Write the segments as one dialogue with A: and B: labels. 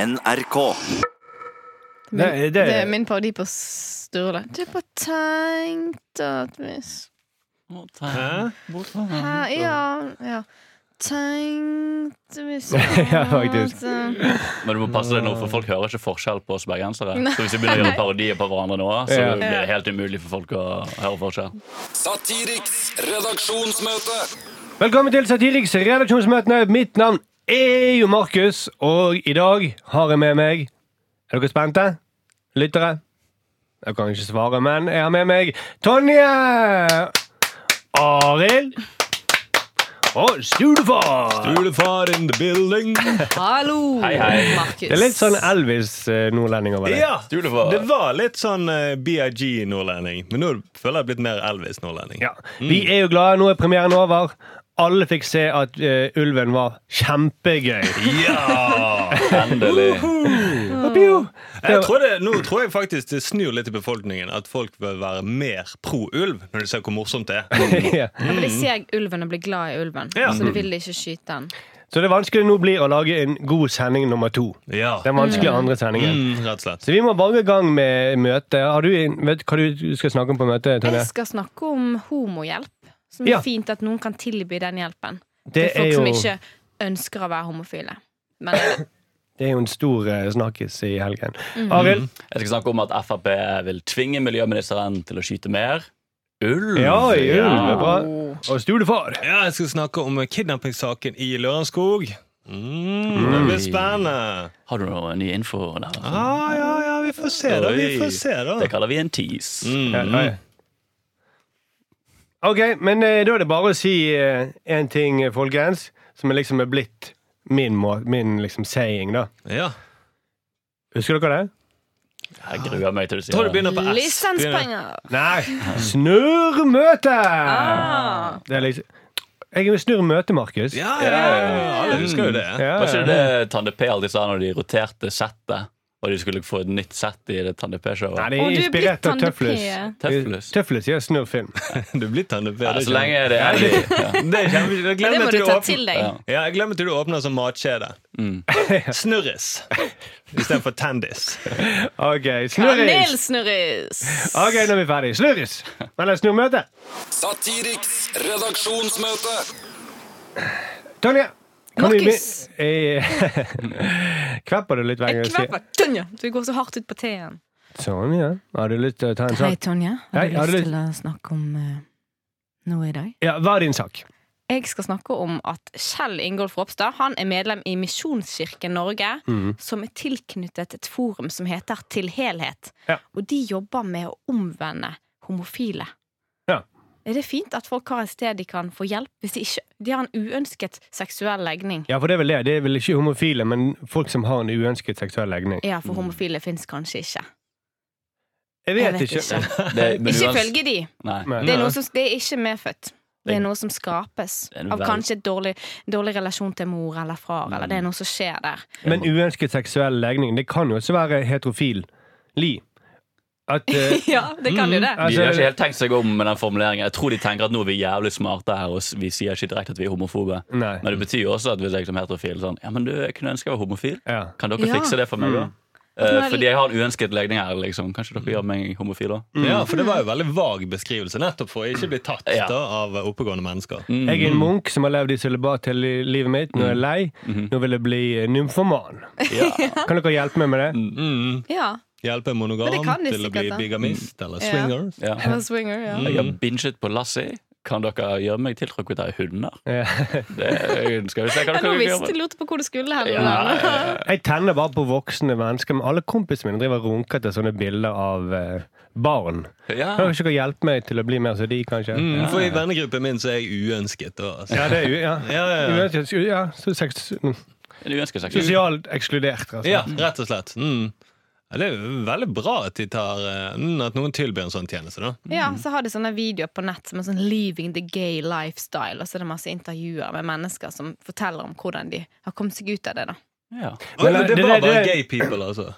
A: NRK.
B: Det er
C: Det-
B: min-
C: det er-
B: det er min parodi på Sturle. Du bare tenkte at hvis
C: Hæ?
B: Hæ? Ja, ja. Tenkte hvis
C: Ja, faktisk.
B: at- eh,
D: Men du må passe deg nå, for folk hører ikke forskjell på oss bergensere.
B: Nei.
D: Så hvis vi begynner å gjøre parodier på hverandre nå, så
C: Ja.
D: blir det helt umulig for folk å høre forskjell.
E: Satiriks redaksjonsmøte.
C: Velkommen til Satiriks redaksjonsmøtene. Mitt navn er jo Markus, og i dag har jeg med meg Er dere spente? Lyttere? Jeg kan ikke svare, men jeg har med meg Tonje! Arild. Og Studefar.
F: Julefar in the building.
B: Hallo,
D: Hei, hei.
B: Markus.
C: Det er litt sånn Elvis-nordlending over det.
F: Ja,
D: Julefar.
F: det var litt sånn eh, BIG-nordlending, men nå føler jeg blitt mer Elvis-nordlending.
C: Ja. Vi er jo glade. Nå er premieren over. Alle fikk se at eh, ulven var kjempegøy.
D: Endelig.
C: Pio.
F: Jeg tror det, nå tror jeg faktisk det snur litt i befolkningen at folk bør være mer pro-ulv når de ser hvor morsomt det er.
C: Ja.
B: Men de ser ulven og blir glad i ulven,
F: Ja.
B: så de vil ikke skyte den.
C: Så det vanskelige nå blir å lage en god sending nummer to.
F: Ja,
C: Den vanskelige andre sendingen.
F: mm, Rett og slett.
C: Så vi må bare i gang med møtet. Har du, en- vet du hva du skal snakke om på møtet, Tonje?
B: Jeg skal snakke om homohjelp. Som er
C: Ja.
B: fint at noen kan tilby den hjelpen.
C: Det
B: til
C: er
B: folk
C: jo,
B: som ikke ønsker å være homofile. Men er det.
C: det er jo en stor eh, snakkis i helgen.
B: Mm.
C: Arild?
F: Mm.
D: Jeg skal snakke om at Frp vil tvinge miljøministeren til å skyte mer. Ulv.
C: Ja,
F: Mm.
C: ulv er bra.
B: Oh.
C: Og Stulefar.
F: Ja, jeg skal snakke om eh, kidnappingssaken i Lørenskog. Mm, det blir spennende.
D: Har du noe ny info der?
F: Ah, ja, ja, vi får se, da. Vi får se, da.
D: Det kaller vi en tease.
C: Ja,
F: Mm.
C: ja. Ok, men eh, da er det bare å si én ting, eh, folkens, som er liksom er blitt min, må, min liksom saying, da.
F: Ja.
C: Husker dere det?
D: Jeg gruer meg til du
F: Tror
D: sier
F: du begynner på S. Begynner-
B: Lisenspenger!
C: Nei! Snurrmøte!
B: Ah.
C: Det er liksom Jeg er jo snurr møte, Markus.
F: Ja, ja, ja. Alle husker jo det.
C: Ja,
D: Var ikke
C: ja.
D: det Tande P alltid sa når de roterte settet? Og de skulle få et nytt sett i det Tande
C: Nei,
D: P-showet?
C: det
B: Og
C: er
B: du er blitt
C: inspirert av
B: Tande P.
C: Tøflus.
D: Tøflus.
C: Tøflus gjør snurrfilm.
F: Du blir tannet
D: Ja, så lenge det er de. Ja.
F: Det kommer ikke. Jeg
B: Det
F: glemmer
B: må du
F: til du
B: ta
F: åpner.
B: til deg.
D: Ja.
F: Ja, jeg glemmer til du åpner som matkjede. Snurris istedenfor Tandis.
C: Ok, snurris!
B: Kanelsnurris!
C: Ok, nå er vi ferdig. Snurris! Eller snurrmøte.
E: Satiriks redaksjonsmøte.
C: Tonje! kan vi
B: Markus.
C: be- Eh, Kvepper du litt hver gang
B: Jeg
C: jeg sier
B: kvepper Tonje! Du går så hardt ut på T-en.
C: Sånn, ja. Har du lyst til å ta en sak?
B: Tonje.
C: Hei, har du lyst-
B: å snakke om eh, noe i dag?
C: Ja, Hva er din sak?
B: Jeg skal snakke om at Kjell Ingolf Ropstad Han er medlem i Misjonskirken Norge,
C: Mm.
B: som er tilknyttet et forum som heter Til helhet.
C: Ja.
B: Og de jobber med å omvende homofile.
C: Ja.
B: Er det fint at folk har et sted de kan få hjelp hvis de ikke De har en uønsket seksuell legning?
C: Ja, for det er vel det. Det er vel ikke homofile, men folk som har en uønsket seksuell legning.
B: Ja, for homofile fins kanskje ikke.
C: Jeg
B: Jeg
C: vet,
B: vet ikke.
D: Det, men
B: Ikke
D: uans-
B: følge de.
D: Nei.
B: Det er,
C: Men,
B: noe som, det er ikke medfødt. Det er noe som skapes
D: Det er en
B: av
D: vel-
B: kanskje et dårlig, dårlig relasjon til mor eller far. Eller det er noe som skjer der.
C: men uønsket seksuell legning, det kan jo også være heterofil. Li. At eh,
B: Ja, det kan jo det.
D: De har
C: Altså-
D: ikke helt tenkt seg om med den formuleringen. Jeg tror de tenker at nå er vi jævlig smarte her, og s- vi sier ikke direkte at vi er homofobe.
C: Nei.
D: Men det betyr jo også at hvis jeg som heterofil sånn Ja, men du, jeg kunne ønske jeg var homofil.
C: Ja. Mm.
D: Kan dere
B: Ja.
D: fikse det for meg, da?
B: Nå
D: Eh,
B: er det-
D: fordi jeg har en uønsket legning her, liksom. Kanskje dere gjør meg homofil òg?
F: Ja, for det var jo veldig vag beskrivelse, nettopp for å ikke bli tatt
D: Ja.
F: da, av oppegående mennesker.
C: Jeg er en munk som har levd i sølibat hele livet mitt. Nå er
F: Mm-hmm.
C: jeg lei. Nå vil jeg bli eh, nymfoman. Kan dere hjelpe meg med det?
F: Mm.
B: Ja.
F: Hjelpe en monogam
B: Men det kan de
F: til å
B: sikkert,
F: bli
B: da. Mm.
F: bigamist eller
B: Ja.
F: swingers.
D: Ja.
B: Eller swinger, ja.
C: Mm.
D: Jeg har binget på Lassie. Kan dere gjøre meg tiltrukket av hunder?
C: Eh,
D: Det skal vi se hva
B: Jeg nå
D: dere kan
B: visste,
D: gjøre.
B: lurte på hvor det skulle hen.
D: Ja, ja, ja.
C: Jeg tenner bare på voksne mennesker. Men alle kompisene mine driver og runker til sånne bilder av eh, barn.
B: Ah.
D: Ja.
C: Kan ikke dere hjelpe meg til å bli mer som de, kanskje?
F: Mm, for i vennegruppen min så er jeg uønsket. Da, altså.
C: Ja, det er jo ja.
F: Ja, ja, ja.
C: Uønsket- ja, så seks-
D: En uønsket seksuell
C: Sosialt ekskludert, altså.
F: ja, rett og slett. Mm. Ja, det er jo veldig bra at, de tar, eh, mm, at noen tilbyr en sånn tjeneste. da
B: Ja, så har de sånne videoer på nett som er sånn 'Leaving the gay lifestyle'. Og så er det masse intervjuer med mennesker som forteller om hvordan de har kommet seg ut av det. da
D: Ja.
F: Oi, men det,
C: det-
F: var
C: det-
F: bare
C: det-
F: gay people, altså.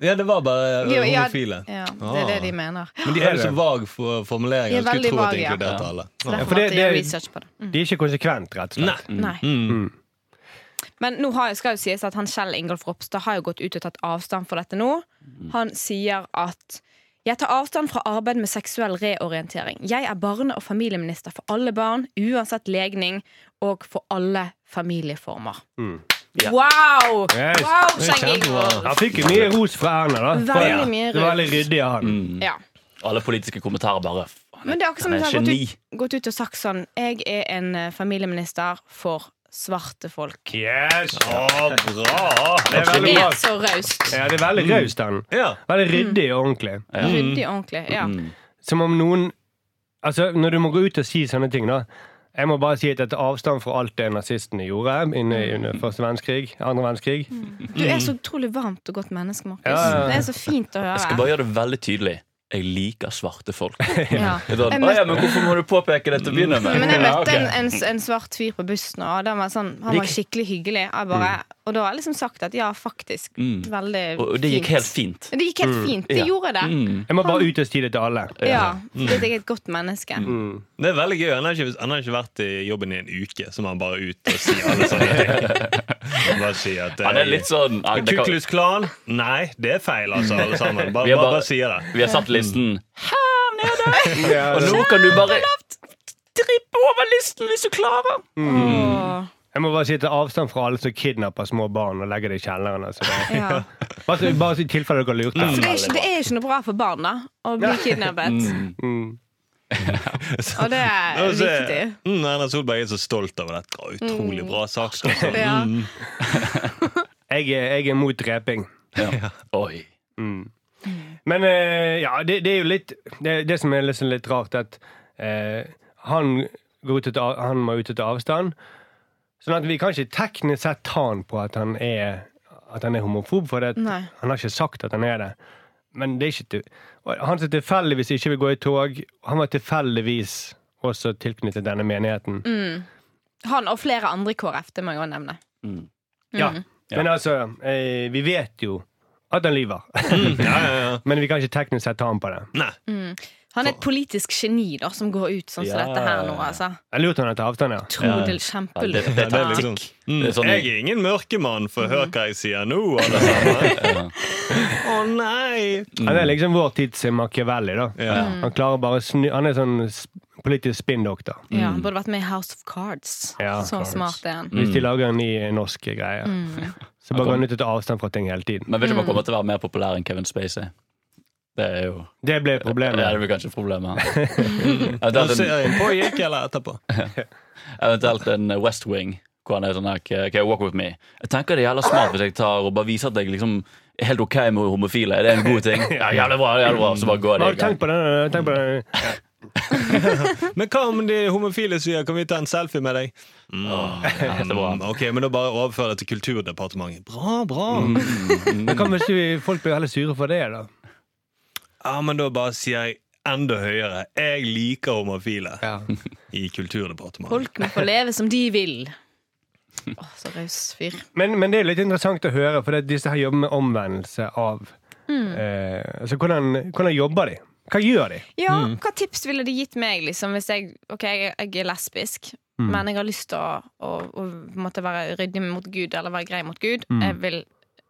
F: Ja, det var bare eh,
B: Mhm. Jo, ja,
F: homofile.
B: Ja, det er det de mener.
F: Men de
C: Er
F: hadde
C: det?
F: så vag for formulering. Jeg
B: De er
F: skulle
B: veldig
F: tro at de
B: vage, ja.
F: inkluderte alle.
B: Så derfor
C: for det-
B: måtte jeg gjøre
C: det-
B: research på det. Mm.
C: De er ikke konsekvent, rett og slett.
F: Nei.
B: Nei.
F: Mm.
B: Men nå har, skal jo sies at han Kjell Ingolf Ropstad har jo gått ut og tatt avstand for dette nå. Han sier at jeg tar avstand fra arbeid med seksuell reorientering. Jeg er barne- og familieminister for alle barn, uansett legning, og for alle familieformer.
D: Ja.
B: Wow!
C: Yes.
B: wow
F: er
B: Kjell Ingolf!
C: Han fikk jo mye ros fra Erna, da. For-
B: Veldig mye
C: Det var veldig
B: ros.
C: ryddig av han.
F: Mm.
B: Ja.
D: Alle politiske kommentarer bare faen,
B: Men det er akkurat som
D: han
B: hvis
D: er
B: han har
D: geni.
B: gått ut, gått ut og sagt sånn Jeg er en eh, familieminister for svarte folk.
C: Yes!
F: Ja, bra!
C: Det er veldig
B: Det
C: bra.
B: er så raust.
C: Ja, det er veldig raust, han.
F: Ja.
C: Veldig ryddig og ordentlig.
B: Ryddig og ordentlig. Ja.
C: Som om noen Altså, når du må gå ut og si sånne ting, da. Jeg må bare si at jeg tar avstand fra alt det nazistene gjorde inne i- under første verdenskrig. Andre verdenskrig.
B: Du er
D: Mm.
B: så utrolig varmt og godt menneske, Markus.
C: Ja, ja, ja.
B: Det er så fint å
D: Jeg
B: høre.
D: skal bare gjøre det veldig tydelig. Jeg liker svarte folk.
B: ja.
D: Jeg bare,
B: Jeg
D: «Å ja,
B: møtte,
D: men hvorfor må du påpeke det til å begynne med?
B: men jeg
D: Ja,
B: møtte en,
D: ok.
B: en, en svart fyr på bussen, og den var sånn, han var skikkelig hyggelig. Jeg bare, og da har jeg liksom sagt at ja, faktisk. Veldig
D: Mm. Og det gikk helt fint. Mm.
B: Det gikk helt fint. Det
D: Ja. Mm.
B: gjorde det.
C: Jeg må bare ut og si det til alle.
B: Ja. Fordi jeg er et godt menneske.
D: Mm.
F: Det er veldig gøy. Han har ikke, han har ikke vært i jobben i en uke, så må han bare ut og si alle sånne ting. Han bare sier at eh,
D: Han er litt sånn ja, det kan,
F: Kuklus Klan? Nei, det er feil, altså, alle sammen. Bare,
D: Vi er
F: bare,
D: bare-
F: bare sier det.
D: Vi har satt listen.
C: Ja,
D: Og
C: det-
D: nå kan du bare trippe over listen hvis du klarer.
B: Åh,
C: Jeg må bare si til avstand fra alle som kidnapper små barn og legger det i kjelleren. Altså. Det-
B: ja.
C: Bare, så- bare så i tilfelle dere lurte.
B: Så det er, ikke, det er ikke noe bra for barn da å bli kidnappet.
D: Mm.
B: Og det er
F: Og så er-
B: viktig.
F: Mm, Erna Solberg er så stolt over dette. Å, Utrolig
B: Mm.
F: bra sak.
D: Mm.
F: altså.
B: Ja.
C: Jeg, er- jeg er mot dreping.
D: Ja. Oi.
C: Men eh, ja, det, det er jo litt Det, det som er liksom litt rart, at eh, han, går ut og tar- han må ut og ta avstand. Sånn at vi kan ikke teknisk sett ta han på at han er, at han er homofob, for det, at
B: Nei.
C: han har ikke sagt at han er det. Men det er ikke til- og Han som tilfeldigvis ikke vil gå i tog, han var tilfeldigvis også tilknyttet denne menigheten.
B: Han og flere andre i KrF, det må jeg også nevne.
C: Ja. Men altså, eh, vi vet jo at han lyver.
F: Mm. Ja, ja, ja.
C: Men vi kan ikke teknisk sett ta han på det.
F: Nei.
B: Han er et politisk geni da, som går ut sånn som
D: Ja,
B: dette her nå.
D: ja, ja.
B: altså.
C: Jeg lurte han etter avstand, ja.
B: Trodel
D: Ja, det,
B: kjempelurt.
D: det er
F: Det er
D: taktikk.
F: liksom, mm,
D: Det er sånn-
F: jeg er ingen mørkemann, for hør hva jeg sier nå, alle sammen. Å nei!
D: Mm.
C: Han er liksom vår tids Machiavelli, da.
F: Ja.
C: Han klarer bare å snu Han er sånn s- politisk spinndoktor.
B: Ja,
D: Mm.
B: han burde vært med i House of Cards.
C: Ja,
B: så
C: Cards.
B: smart er han.
C: Hvis de lager en ny norsk greie. Så bare
D: Mm. kom-
C: går han ut og tar avstand fra ting hele tiden.
D: Men vet
B: Mm.
D: ikke om han kommer til å være mer populær enn Kevin Spacey. Det er jo
C: Det ble
D: Ja, det
C: problemet.
D: blir kanskje problemet.
F: Når
D: Eventuelt en,
F: serien pågikk, eller etterpå?
D: eventuelt en West Wing, hvor han er sånn her "Can- Can you walk with me? Jeg tenker det er jævla smart hvis jeg tar og bare viser at jeg liksom er helt ok med homofile. Er det en god ting? Ja, jævlig bra, jævlig bra. Så bare går
C: Men
D: det
C: Har
D: i
C: du
D: gang.
C: tenkt på den? Tenk på
D: Mm.
C: den.
F: Men hva om de homofile sier 'kan vi ta en selfie med deg'? Mm, ok, men da bare overfør det til Kulturdepartementet. Bra, bra.
C: Men hva hvis du, folk blir heller sure for det, da?
F: Ja, men da bare sier jeg enda høyere 'jeg liker homofile' i Kulturdepartementet.
B: Folk må få leve som de vil. Åh, så raus fyr.
C: Men, men det er litt interessant å høre, for det, er disse her jobber med omvendelse av eh, Altså, hvordan, hvordan jobber de? Hva gjør de?
B: Ja,
D: Mm.
B: Hva tips ville de gitt meg liksom, hvis jeg Ok, jeg, jeg er lesbisk,
D: Mm.
C: Mm.
B: men jeg har lyst til å, å, å på en måte være ryddig mot Gud eller være grei mot Gud.
D: Mm.
B: Jeg vil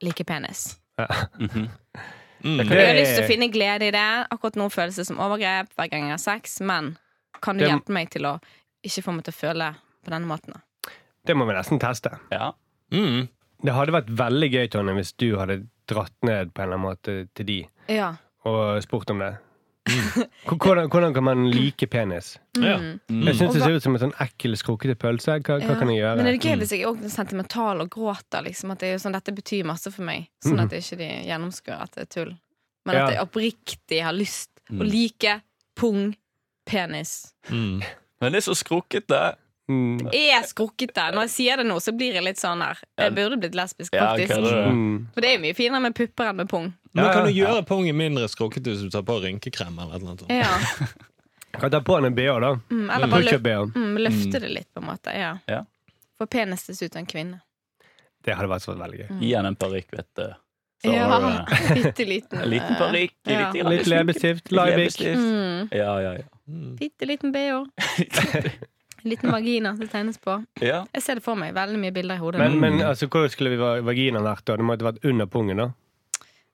B: like penis. Jeg har lyst til å finne glede i det. Akkurat nå føles det som overgrep hver gang jeg har sex, men kan du
C: Det-
B: hjelpe meg til å ikke få meg til å føle på denne måten? da?
C: Det må vi nesten teste.
D: Ja.
F: Mm.
C: Det hadde vært veldig gøy, Tonje, hvis du hadde dratt ned på en eller annen måte til de.
B: Ja.
C: og spurt om det. H- Hvordan, hvordan kan man like penis?
F: Ja.
C: Jeg syns det
B: Og hva-
C: ser ut som en sånn ekkel, skrukkete pølse. Hva, hva
B: Ja.
C: kan jeg gjøre? Mm.
B: Men er det gøy hvis jeg òg blir sentimental og gråter? Liksom, at det er jo sånn, dette betyr masse for meg. Sånn at ikke de gjennomskuer at det er tull. Men
C: Mm. Ja. Mm.
B: at jeg oppriktig har lyst å like pung, penis.
F: Mm.
D: Men det er så skrukkete.
C: Mm,
B: Jeg er skrukkete. Når jeg sier det nå, så blir jeg litt sånn her. Jeg burde blitt lesbisk,
D: Ja,
B: faktisk.
D: kødder du?
C: mm.
B: For det er jo mye finere med pupper enn med pung.
F: Men kan du
C: Ja,
F: gjøre pungen mindre skrukkete hvis du tar på rynkekrem? eller et eller annet sånt?
B: Ja.
C: Kan ta på en BH, da.
B: Mm, eller bare løfte,
C: Push-up-BH.
B: mm, løfte det litt, på en måte. Ja.
D: Ja.
B: Få penis til å se ut som en kvinne.
C: Det hadde vært så veldig
B: Mm.
C: gøy.
D: Gi han en parykk, vet du. Så har du
B: Ja,
D: det.
B: bitte liten. eh,
D: En liten parykk.
B: Ja. Mm.
D: lite grann
C: Litt leppestift,
D: Litt
C: laibik.
F: Mm.
D: leppestift. Ja, ja, ja.
B: Bitte liten BH. Liten vagina som tegnes på.
D: Ja.
B: Jeg ser det for meg. Veldig mye bilder i hodet.
C: Men, men altså, hvor skulle vi va- vaginaen vært da? Det måtte vært under pungen, da.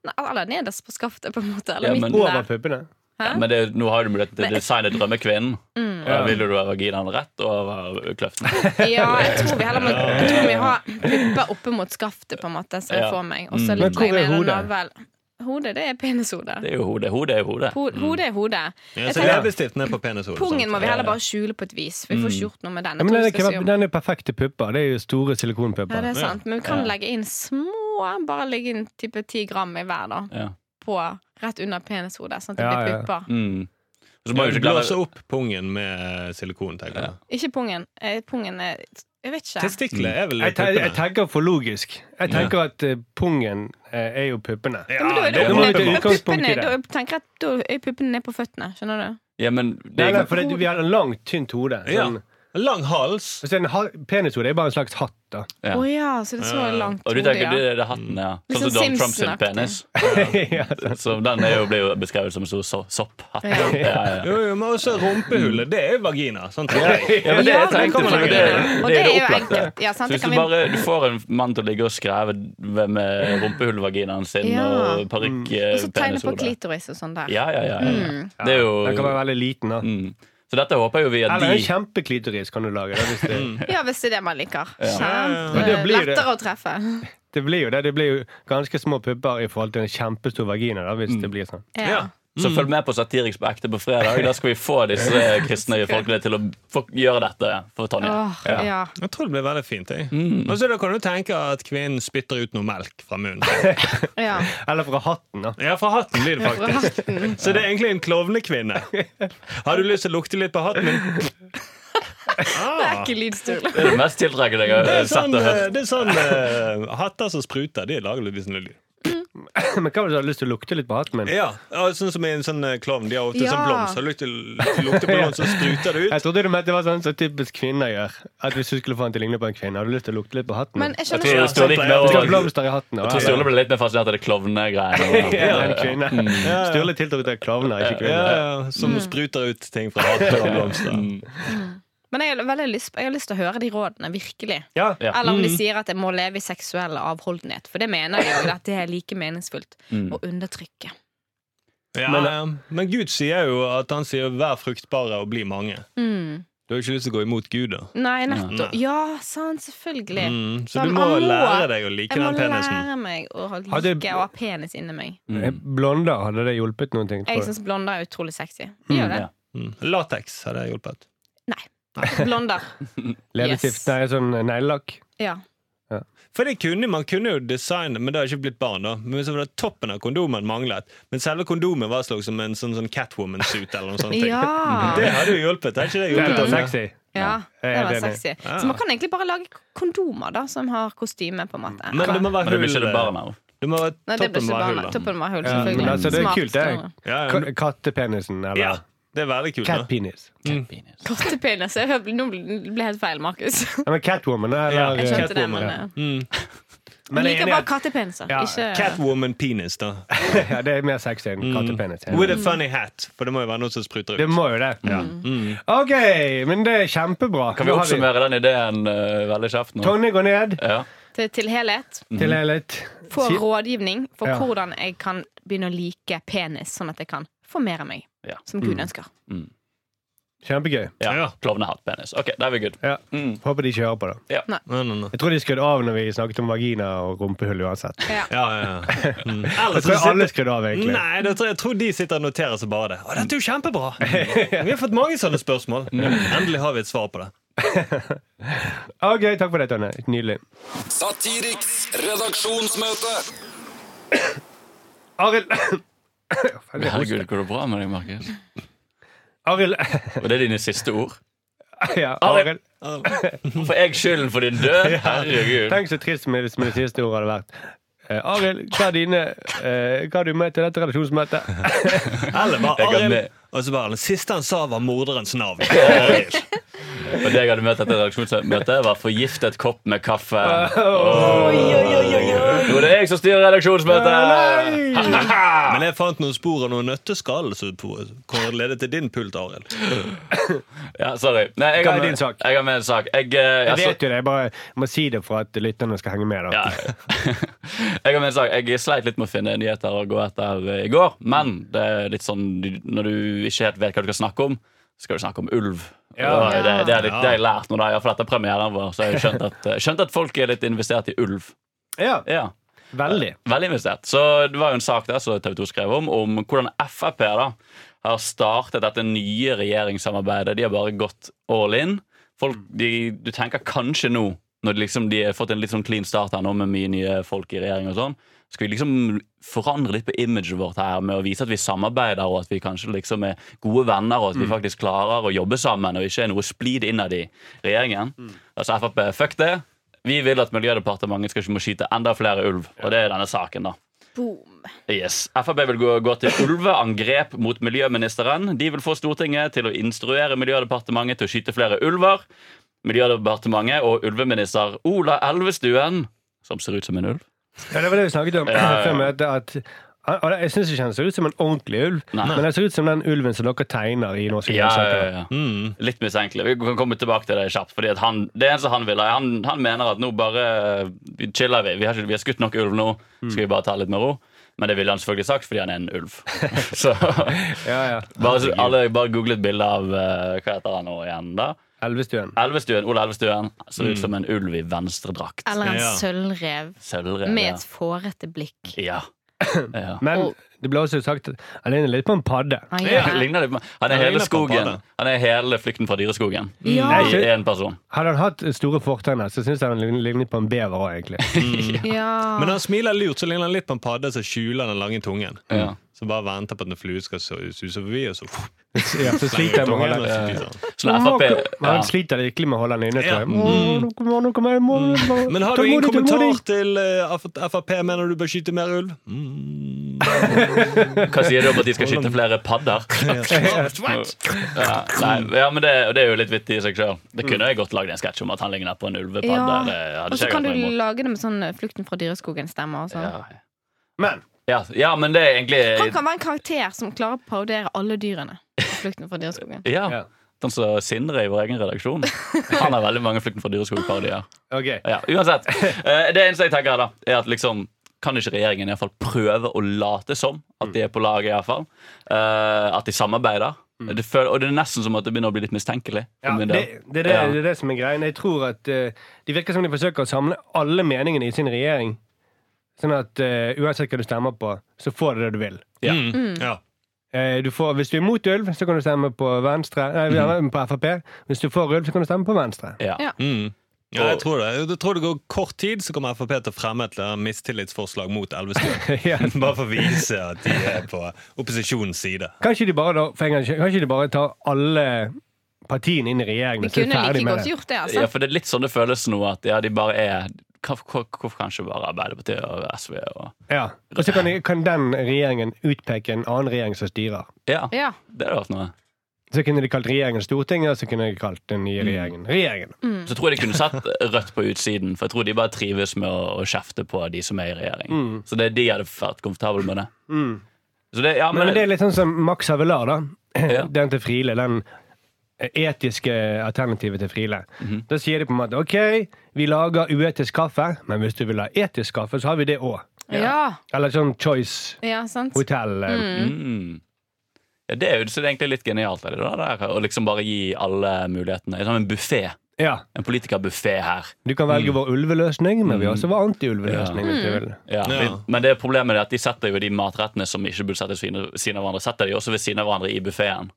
B: Nei, Eller nederst på skaftet, på en måte.
D: Ja,
B: Eller
D: men-
B: midten
C: Over
B: der.
C: puppene.
B: Hæ? Mm.
D: Men det, nå har du det, det designet drømmekvinnen. Ja.
C: Ja.
D: Vil du ha vaginaen rett og over kløften?
B: Ja, jeg tror vi heller må, jeg tror vi har pupper oppe mot skaftet, på en måte, som jeg
D: Ja.
B: får meg. Og så
C: Men
D: Mm.
B: litt
C: hvor er
B: mer
C: hodet?
B: navel. Hodet, det er penishodet.
D: Det er jo hodet. Hodet er jo hodet.
B: Ho hodet er hodet.
F: Ja,
B: Jeg
F: så
B: tenker,
F: Leppestiften er på penishodet.
B: pungen må vi heller
D: Ja, ja.
B: bare skjule på et vis. Vi får
D: Mm.
B: ikke gjort noe med den.
C: Ja,
B: Jeg tror
C: men den,
B: vi
C: er
B: skal
C: ikke-
B: si om-
C: den er perfekte pupper. Det er jo store
B: Ja, det
C: silikonpupper.
B: er sant. Men vi kan legge inn små, bare legge inn type 10 gram i hver, da.
D: Ja.
B: På, rett under penishodet, sånn at det
C: Ja,
B: blir
C: ja.
B: pupper.
D: Mm. Så må
F: Ja,
D: vi
F: du
D: ikke
F: blåser
D: glemme
F: opp pungen med silikon, tenker jeg.
B: Ikke pungen. Eh, pungen er Jeg vet ikke.
F: Testikler er vel
C: Jeg, te jeg
F: puppene.
C: tenker for logisk. Jeg tenker at eh, pungen eh, er jo puppene.
B: Ja, men da er det
C: det
B: opp
C: må vi
B: ned-
C: ta
B: da er
C: utgangspunkt i
B: puppene-
C: det.
B: da er- tenker jeg at da er puppene ned på føttene. Skjønner du?
D: Ja, men det
C: Nei,
D: er
C: nei, for det, vi har en langt, tynt hode.
F: Ja.
C: Sånn.
F: Lang hals.
C: Og så en ha- penishode er bare en slags hatt, da.
B: Å
D: Ja.
B: ja. så det er så langt
D: Og du
B: hode,
D: tenker
B: ja.
D: det er det hatten, ja. Sånn som
B: Litt sånn
D: Donald Trump sin penis.
B: Simpson-aktig.
C: ja, sant.
D: Så den er jo, blir jo beskrevet som en stor so sopphatt. Ja. Ja, ja.
F: Jo, jo, men også rumpehullet. Det er jo vagina. Sant?
D: Ja, men det,
B: Ja,
D: jeg tenkte,
B: men-
D: for det, det,
B: Og
D: det er det
B: jo
D: opplagte.
B: enkelt. Ja,
D: Så
B: sant? Det
D: hvis
B: kan
D: du
B: vi
D: bare du får en mann til å ligge og skreve med rumpehullvaginaen sin
B: Ja. Mm.
D: og parykk
B: Og så tegne på
D: penishode
B: klitoris og sånn der.
D: Ja, ja, ja. ja. Det er
C: Den kan
D: jo
C: være veldig liten, da.
D: mm. Så dette håper jeg jo vi at
C: Eller
D: de Mm.
C: en kjempeklitoris kan du lage. Da, hvis det,
B: Ja, hvis det er det man liker. Sant?
C: Men det blir det.
B: Lettere å treffe.
C: det blir jo det. Det blir jo ganske små pupper i forhold til en kjempestor vagina. Da, hvis det
D: Mm.
C: blir sånn.
B: Ja.
D: Så følg med på Satiriks på ekte på fredag. Da skal vi få disse kristne folkene til å få gjøre dette for Tonje.
B: Åh, ja.
F: Jeg tror det blir veldig fint. Jeg.
D: Mm.
F: Og så da kan du tenke at kvinnen spytter ut noe melk fra munnen.
B: ja.
C: Eller fra hatten, da.
F: Ja, fra hatten blir det
B: Fra
F: faktisk.
B: hatten.
F: Så det er egentlig en klovnekvinne. Har du lyst til å lukte litt på hatten min?
B: Det
F: Ah,
B: er ikke lydstol.
D: Det er det mest tiltrekkende jeg
F: det
D: har
F: er
D: sett
F: sånn,
D: og hørt.
F: eh, det er sånn eh, hatter som spruter. De lager litt sånn lyd.
C: Men hva om du har lyst til å lukte litt på hatten min?
F: Ja, ja, sånn som i en sånn eh, klovn. De har ofte
B: Ja.
F: sånn blomst. Har du lyst til å lukte på noen, så spruter det ut.
C: Jeg trodde du mente det var sånn som typisk kvinner gjør. At hvis du skulle få han til å ligne på en kvinne, har du lyst til å lukte litt på hatten
B: Men
C: min?
B: jeg
D: Jeg
B: skjønner
D: tror
B: sånn ikke
D: Ståle gikk med
C: Du
D: og-
C: skal ha blomster i hatten.
D: Jeg tror Sturle ble litt mer fascinert av det klovnegreiene.
C: Ja, en kvinne.
D: Mm.
C: Sturle tiltrukket av klovner, ikke
F: Ja,
C: kvinner.
F: ja,
B: Mm.
F: som spruter ut ting fra hatter og blomster.
C: Mm.
B: Men jeg har, veldig lyst, jeg har lyst til å høre de rådene, virkelig.
C: Ja.
D: Ja.
B: Eller om de sier at jeg må leve i seksuell avholdenhet. For det mener jeg jo at det er like meningsfullt å undertrykke.
F: Ja, men,
C: Men-
F: men Gud sier jo at han sier 'vær fruktbare og bli mange'. Du har jo ikke lyst til å gå imot Gud, da.
B: Nei, nettopp. Ja, sant, selvfølgelig.
F: Mm,
B: Sånn,
F: så du må
B: jeg
F: lære deg å like
B: Jeg må
F: den penisen.
B: lære meg å ha-
C: Har det-
B: like å ha penis inni meg.
D: Mm.
C: Blonder, hadde det hjulpet noen ting? tror
B: Jeg
C: jeg?
B: syns blonder er utrolig sexy. Gjør det?
D: ja.
F: Mm. Lateks hadde hjulpet.
B: Blonder.
C: Leppestift?
B: Yes.
C: Nei, sånn neglelakk?
B: Ja.
F: For det kunne man kunne jo designe, men det har ikke blitt barn, da. Men så var det Toppen av kondomen manglet. Men selve kondomen var slags som en sånn, sånn Catwoman-suit eller noe sånt.
B: Ja.
F: Det hadde jo hjulpet. Har ikke
C: Det
F: det
C: er
F: hjulpet?
C: litt
F: Anja?
C: sexy.
B: Ja, det
C: jeg er
B: var
C: helt enig.
B: sexy. Så man kan egentlig bare lage kondomer da som har kostyme. på en måte
F: Men det må
D: Men
F: være
D: det blir ikke
F: hull.
D: det barn av.
F: Det må være
B: Nei, det ble
F: toppen
B: ikke
F: var
B: barna.
F: hull. da.
B: Toppen var hull,
C: Ja,
B: selvfølgelig.
C: men altså, det er
B: Smart
C: kult, det.
B: større.
F: Ja, ja, men-
C: Ka- Kattepenisen,
F: ja,
C: eller
F: det er veldig kult. da.
C: catpenis.
D: Penis.
B: Kattepenis. Jeg hører- Nå ble det helt feil, Markus.
C: Ja, men Catwoman, eller
B: Jeg skjønte det,
F: Catwoman,
B: men
F: ja.
B: eh,
C: Men
B: Jeg
C: jeg
B: liker
C: er enig
B: bare
C: at-
B: kattepeniser.
C: Ja,
B: Ikke
F: Catwoman-penis, da.
C: ja, det er mer sexy enn kattepenis.
F: With a funny hat. For det må jo være noe som spruter ut.
C: Det må jo det.
B: Mm.
C: OK, men det er kjempebra.
D: Kan vi
C: Nå har vi-
D: oppsummere den ideen eh, veldig kjapt nå?
C: Tonje går ned
D: Ja.
B: til, til helhet.
C: til Elit.
B: Få rådgivning for
C: Ja.
B: hvordan jeg kan begynne å like penis, sånn at jeg kan formere meg
D: Ja.
B: som Gud ønsker.
C: Kjempegøy.
D: ja.
F: Ja.
D: Klovnehatt-penis. Ok, da er vi good.
C: Ja. Håper de ikke hører på det.
F: Nei, nei, nei.
C: Jeg tror de skrudde av når vi snakket om vagina og rumpehull uansett.
B: Ja.
F: Ja, ja, ja. Mm. Eller
C: Jeg
F: så
C: tror alle
F: sitter...
C: skrudde av, egentlig.
F: Nei, det tror jeg, jeg tror de sitter og noterer seg bare det. Å, dette er jo kjempebra! Vi har fått mange sånne spørsmål.
D: Mm.
F: Endelig har vi et svar på det.
C: OK, takk for det, Tonje. Nydelig.
E: Satiriks redaksjonsmøte.
C: Arild Faen, jeg hoster.
D: Herregud, går det bra med deg, Markus?
C: Arild
D: Og det er dine siste ord?
C: Ja,
D: Arild.
C: Arild.
D: Får jeg skylden for din død? Herregud.
C: Tenk så trist med det, med det siste ordet hadde vært. Eh, Arild, hva er dine eh, Hva har du med til dette redaksjonsmøtet?
F: Eller bare
D: Jeg kan
F: Arild.
D: le.
F: Og så bare, det siste han sa, var morderens navn.
D: Og det jeg hadde møtt etter redaksjonsmøtet, var forgiftet kopp med kaffe. Nå er det jeg som styrer redaksjonsmøtet!
F: Men jeg fant noen spor av noen nøtteskall som ledet til din pult, Arild.
D: Ja, sorry. Nei, jeg,
C: Hva
D: har
C: er
D: med,
C: din sak?
D: jeg har med en sak. Jeg, eh,
C: Jeg
D: jeg,
C: vet jo det, jeg bare må si det for at lytterne skal henge med. da.
D: Ja. jeg har med en sak. Jeg sleit litt med å finne nyheter å gå etter eh, i går. Men det er litt sånn du- når du ikke helt vet hva du skal snakke om, så skal du snakke om ulv.
C: Ja.
D: Og Det, det, er litt, det har jeg lært nå, da. Ja, for dette er premieren vår. Så jeg har skjønt at, eh, skjønt at folk er litt investert i ulv.
C: Ja,
D: Ja,
C: Veldig.
D: Veldig investert. Så det var jo en sak der som TV 2 skrev om, om hvordan Frp da har startet dette nye regjeringssamarbeidet. De har bare gått all in. Folk, de, du tenker kanskje nå, når de, liksom, de har fått en litt sånn clean start her nå med mye nye folk i regjering og sånn, skal vi liksom forandre litt på imaget vårt her med å vise at vi samarbeider, og at vi kanskje liksom er gode venner, og at vi faktisk klarer å jobbe sammen, og ikke er noe splid innad i regjeringen. Altså Frp, fuck det. Vi vil at Miljødepartementet skal ikke må skyte enda flere ulv, og det er denne saken, da.
B: Boom.
D: Yes. Frp vil gå, gå til ulveangrep mot miljøministeren. De vil få Stortinget til å instruere Miljødepartementet til å skyte flere ulver. Miljødepartementet og ulveminister Ola Elvestuen, som ser ut som en ulv
C: Ja, det var det vi snakket om
D: ja, ja.
C: før møtet. at han- og Jeg syns ikke han ser ut som en ordentlig ulv,
D: Nei.
C: men han ser ut som den ulven som dere tegner i norske
D: ja, ja,
C: grønnsaker.
D: ja, Mm. ja. Litt mistenkelig. Vi kan komme tilbake til det kjapt. Fordi at han, det eneste han vil, er- han, han mener at nå bare eh, chiller vi. Vi har, ikke, vi har skutt nok ulv nå, skal vi bare ta litt med ro. Men det ville han selvfølgelig sagt fordi han er en ulv. Så
C: Ja, ja.
D: bare, så- alle, bare google et bilde av eh, Hva heter han nå igjen, da?
C: Elvestuen.
D: Elvestuen, Ola Elvestuen ser
F: Mm.
D: ut som en ulv i venstredrakt.
B: Eller en
F: Ja.
B: sølvrev
D: Sølvrev.
B: med et fårete blikk.
D: Ja. ja.
C: Men
B: Og-
C: det ble også sagt at han ligner litt på en padde.
B: Han
D: Ja.
B: gjør det.
D: Ligner litt på- Han er
F: Han
D: hele
F: ligner på en
D: skogen.
F: padde.
D: Han er hele flukten fra dyreskogen.
B: Ja.
D: I én person.
C: Hadde han hatt store fortenner, så syns jeg han lign- lignet på en bever òg, egentlig.
B: Ja.
C: Ah.
F: Men når han smiler lurt, så ligner han litt på en padde som skjuler den lange tungen.
D: Ja.
F: Som bare venter på at en flue skal su- suse forbi, og så
C: Ja, så sliter jeg med å holde
F: og så spiser han.
D: Så når Frp
C: Men Han
D: ja.
C: sliter virkelig med å holde han inne.
F: Ja. Mm.
C: tror jeg. Må- nå kommer- nå kommer jeg, må- må-
F: Men har du ingen
C: tålmodig,
F: kommentar
C: tålmodig.
F: til eh, F- Frp? Mener du bør skyte mer ulv? Mm.
D: Hva sier du om at de skal skyte flere padder? Ja, nei, ja, men det, og det er jo litt vittig i seg sjøl. Det kunne jeg godt lagd en sketsj om at han ligner på en ulvepadde. Det
B: Ja.
D: hadde
B: Og
D: ikke
B: så
D: jeg
B: kan
D: hatt
B: du
D: noe imot.
B: lage det med sånn Flukten fra dyreskogen-stemmer. og sånn.
D: Ja.
C: Men
D: Ja, ja, men det er egentlig
B: Han kan være en karakter som klarer å parodiere alle dyrene. i Flukten fra dyreskogen
D: Ja,
C: Ja.
D: Den som Sindre i vår egen redaksjon. Han har veldig mange Flukten fra dyreskogen-parodier.
C: OK.
D: Ja, uansett. Eh, Det eneste jeg tenker da, er at liksom kan ikke regjeringen i hvert fall prøve å late som at de er på laget? i hvert fall Eh, At de samarbeider. Det føl og det er nesten som at det begynner å bli litt mistenkelig.
C: Mm.
D: for
C: Ja,
D: min
C: det,
D: del.
C: det, er det,
D: Ja.
C: det er det som er greien. Jeg tror at eh, De virker som de forsøker å samle alle meningene i sin regjering. Sånn at eh, uansett hva du stemmer på, så får du det du vil.
D: Ja.
F: Mm. Ja.
C: Eh, du får, hvis du er mot ulv, så kan du stemme på Venstre Nei, på Frp. Hvis du får ulv, så kan du stemme på Venstre.
D: Ja.
B: Ja.
F: Mm. Ja, jeg tror det. Jeg tror det går kort tid, så kommer Frp til å fremme et eller annet mistillitsforslag mot Elvestuen.
C: Ja.
F: Bare for å vise at de er på opposisjonens side.
C: Kanskje de bare, da, for en gangs skyld, kanskje de bare tar alle partiene inn i
B: De
C: regjeringen og så er de
B: kunne
C: ferdig
B: like
C: med
B: godt
C: det.
B: gjort det. altså
D: ja, for det er litt sånn det føles nå, at ja, de bare er Hvorfor hvorfor kanskje bare Arbeiderpartiet og SV og
C: Ja. Og så kan, de- kan den regjeringen utpeke en annen regjering som styrer.
D: Ja,
B: Ja.
D: det hadde vært noe.
C: Så kunne de kalt regjeringen Stortinget, og så kunne de kalt den
D: Mm.
C: nye regjeringen regjeringen.
D: Så tror jeg de kunne sett Rødt på utsiden, for jeg tror de bare trives med å, å kjefte på de som er i regjering.
C: Mm.
D: Så det, de hadde vært komfortable med det. Så det, ja, men,
C: Men det er litt sånn som Max Havelar, da.
D: Ja.
C: Den til Friele. Den eh, etiske alternativet til Friele.
D: Mm-hmm.
C: Da sier de på en måte OK, vi lager uetisk kaffe, men hvis du vil ha etisk kaffe, så har vi det òg.
B: Ja.
C: Eller sånn Choice
B: ja, sant?
C: Hotel. eh,
D: Mm. Ja, det er jo så det er egentlig litt genialt. Er det da, der, å liksom bare gi alle mulighetene. Det er som en buffé.
C: Ja.
D: En politikerbuffé her.
C: Du kan velge vår ulveløsning, men vi har også vår antiulveløsning. hvis du vil.
D: Mm. Ja. Mm.
F: Ja.
D: Men det problemet er at de setter jo de matrettene som ikke burde settes ved siden av hverandre, setter de også ved siden av hverandre i buffeen.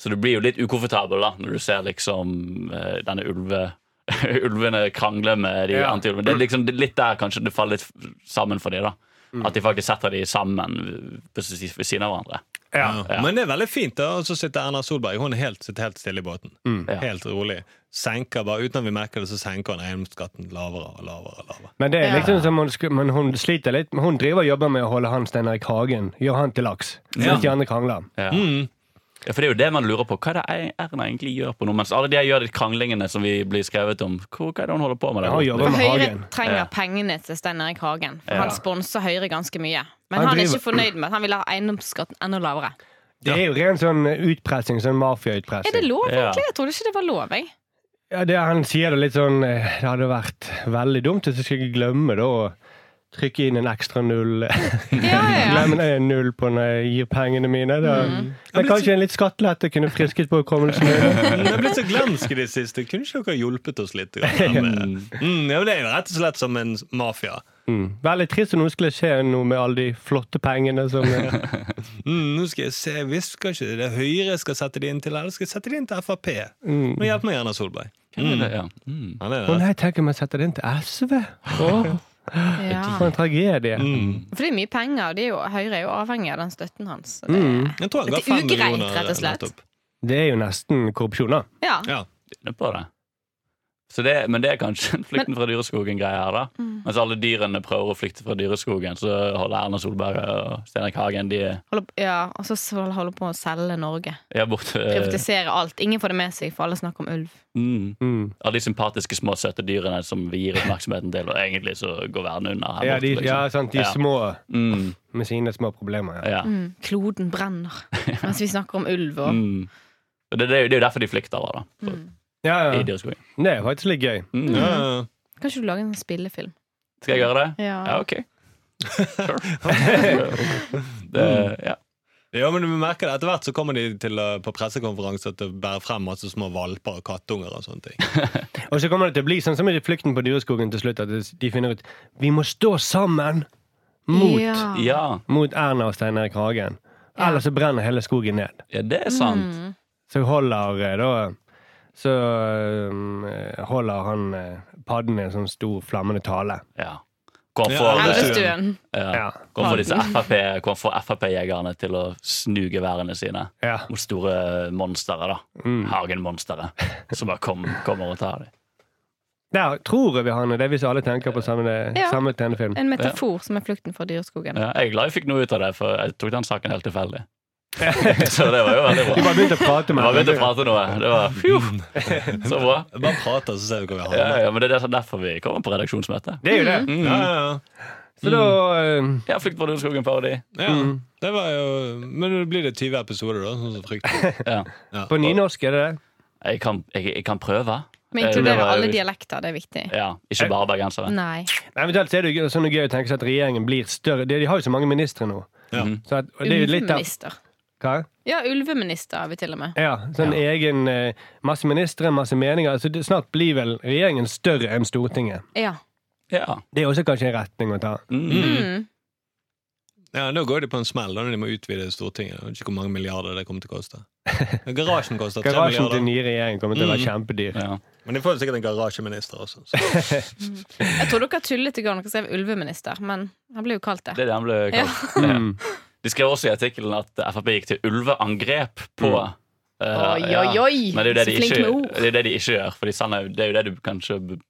D: Så du blir jo litt ukomfortabel da, når du ser liksom eh, denne ulve... Ulvene krangler med de
C: Ja.
D: antiulvene. Det er liksom det er litt der kanskje det faller litt f- sammen for dem.
C: Mm.
D: At de faktisk setter de sammen eh, precis ved siden av hverandre.
C: Ja.
F: Ja. Men det er veldig fint, da. Og så sitter Erna Solberg hun er helt, sitter helt stille i båten.
B: Mm.
D: Ja.
F: Helt rolig. Senker bare, Uten at vi merker det, så senker hun eiendomsskatten lavere og lavere. og lavere.
C: Men det er
B: Ja.
C: liksom som hun, sk- men hun sliter litt. Men Hun driver og jobber med å holde han Stein Erik Hagen Gjør han til laks.
D: Ja.
C: Mens de andre krangler.
D: Ja. Ja, for det er jo det man lurer på. Hva er det ei- Erna egentlig gjør på nå? Mens alle de her gjør de kranglingene som vi blir skrevet om. Hva, hva er det hun holder på med? der
C: Ja,
D: borte?
C: jobber
B: For
C: med
B: Høyre
C: Hagen.
B: trenger
D: Ja.
B: pengene til Stein Erik Hagen. For
D: Ja.
B: Han sponser Høyre ganske mye. Men
C: Han
B: han, er
C: driver-
B: ikke fornøyd med at han vil ha eiendomsskatten enda lavere.
C: Det er jo ren sånn utpressing, sånn
B: Er det
C: mafiautpressing.
B: lov,
D: Ja.
B: egentlig? Jeg trodde ikke det var lov. jeg.
C: Ja, det han sier det litt sånn eh, Det hadde vært veldig dumt hvis jeg skulle glemme da å trykke inn en ekstra null.
B: Ja, ja, Mm. ja.
C: Glemme en null på når jeg gir pengene mine. Da.
F: men
C: Men kanskje en litt skattelette kunne frisket på hukommelsen min.
F: Men Jeg er blitt så glemsk i det siste. Kunne ikke dere hjulpet oss litt? grann med- Mm, ja, men det er jo rett og slett som en mafia.
C: Mm. Veldig trist om noe skulle skje noe med alle de flotte pengene som eh,
F: Mm, nå skal jeg se, jeg visste kanskje det er Høyre jeg skal sette de inn til, eller skal jeg sette de inn til Frp?
C: mm.
F: Nå hjelp meg Erna Solberg.
D: Hvem er det? Ja. Mm.
F: Han er
C: Å
F: det.
C: nei, tenk om jeg setter det inn til SV! Åh,
B: ja.
C: for en tragedie.
F: Mm.
B: For det er mye penger, og det er jo, Høyre er jo avhengig av den støtten hans. Så det,
C: Mm.
F: Jeg tror han ga
B: Det er
F: fem
B: ugreit,
F: millioner.
B: rett og slett.
F: nettopp.
C: Det er jo nesten korrupsjon, da.
B: ja.
F: Ja.
D: Inne på det. Så det, men Mm. det er kanskje en flukten fra dyreskogen-greie her. da Mens alle dyrene prøver å flykte fra dyreskogen, så holder Erna Solberg og Steinar Hagen de
B: Holder, ja. Og så skal han holde på å selge Norge.
D: er borte.
B: Privatisere alt. Ingen får det med seg, for alle snakker om ulv.
D: Mm.
C: Mm.
D: Alle de sympatiske, små, søte dyrene som vi gir oppmerksomheten til, og egentlig så går verden under. her
C: Ja,
D: borte,
C: de,
D: liksom.
C: ja, sant, de
D: Ja.
C: små
D: Mm.
C: med sine små problemer. Ja.
D: Ja.
B: Mm. Kloden brenner, mens vi snakker om ulv og Mm.
D: Mm. Og Det, det, er jo- det er jo derfor de flykter over, da. For,
C: Ja,
D: I
C: ja.
D: dyreskogen.
C: Det er faktisk litt gøy.
D: Mm.
F: Ja, ja, ja.
B: Kan ikke du lage en sånn spillefilm?
D: Skal jeg gjøre det?
B: Ja.
D: Ja, ok. Sure. det, ja.
F: Ja, men du merker det. Etter hvert så kommer de til, å- på pressekonferanser til å bære frem masse små valper og kattunger og sånne ting.
C: Og så kommer det til å bli sånn som i Flukten på Dyreskogen til slutt, at de finner ut Vi må stå sammen mot,
B: Ja.
D: ja,
C: mot Erna og Stein Erik Hagen.
B: Ja.
C: Ellers så brenner hele skogen ned.
D: ja, det er sant.
B: Mm.
C: Så holder eh, da Så eh, holder han eh, padden i en sånn stor flammende tale.
D: Ja. Hvor han
F: Ja,
D: får,
F: det er sant.
B: Elvestuen.
D: ja.
C: Ja.
D: Hvor han får disse FRP hvor han får Frp-jegerne til å snu geværene sine
C: ja.
D: mot store monstre. da Hagenmonstre. Som bare kom, kommer og tar dem.
C: Der tror jeg vi har det, hvis alle tenker på samme,
B: Ja.
C: samme tegnefilm.
B: En metafor som er flukten fra dyreskogen.
D: Ja, jeg er glad jeg fikk noe ut av det, for jeg tok den saken helt tilfeldig. Så det var jo veldig
C: De
D: bra.
C: bare begynte å prate
D: Vi
C: med
D: har begynt å
C: hverandre.
D: prate noe. Det var phew, så bra.
F: Bare prater, så ser vi hva vi
D: Ja,
F: har.
D: ja, men Det er derfor vi kommer på redaksjonsmøte.
C: Det er jo det.
B: Mm.
F: Ja, ja, ja.
C: Så da eh,
D: Ja, Flukt fra Rundskogen-parodi.
F: ja.
C: Mm.
F: Det var jo Men det blir det 20 episoder, da? Sånn som fryktelig.
D: Ja.
C: På nynorsk er det det.
D: Jeg, kan- jeg, jeg kan prøve.
B: Vi
D: Eh, det
B: inkluderer
D: var-
B: alle dialekter, det er viktig.
D: Ja, Ikke bare bergensere.
B: Nei.
C: Nei, Eventuelt så er det jo sånn gøy å tenke seg at regjeringen blir større. De, de har jo så mange ministre nå. Mm.
F: Ja.
C: Så at, og det er jo litt av,
B: Ulveminister.
C: hva?
B: Ja, ulveminister har vi til og med.
C: Ja, sånn egen eh, Masse ministre, masse meninger. Så det, snart blir vel regjeringen større enn Stortinget.
B: Ja.
D: Ja.
C: Det er også kanskje en retning å ta.
D: Mm.
B: Mm.
F: Ja, Nå går de på en smell da når de må utvide Stortinget. Jeg vet ikke hvor mange milliarder det kommer til å koste. Garasjen koster tre
C: Garasjen til
F: milliarder.
C: den nye regjeringen kommer til å være
F: Mm.
C: kjempedyr.
D: ja.
F: Men de får jo sikkert en garasjeminister også. Så.
B: Jeg tror dere tullet i går når dere skrev ulveminister, men han ble jo kalt
D: Det
B: det.
D: er det han ble
B: Ja.
D: kalt.
C: Mm.
D: Ja. De skrev også i artikkelen at Frp gikk til ulveangrep på
C: Mm.
D: eh,
B: Oi,
D: ja.
B: oi, oi!
D: Men det er jo det,
B: Så
D: de
B: flink
D: ikke,
B: med ord.
D: det, er det de ikke gjør. Fordi sånn er, det er jo det du kanskje b-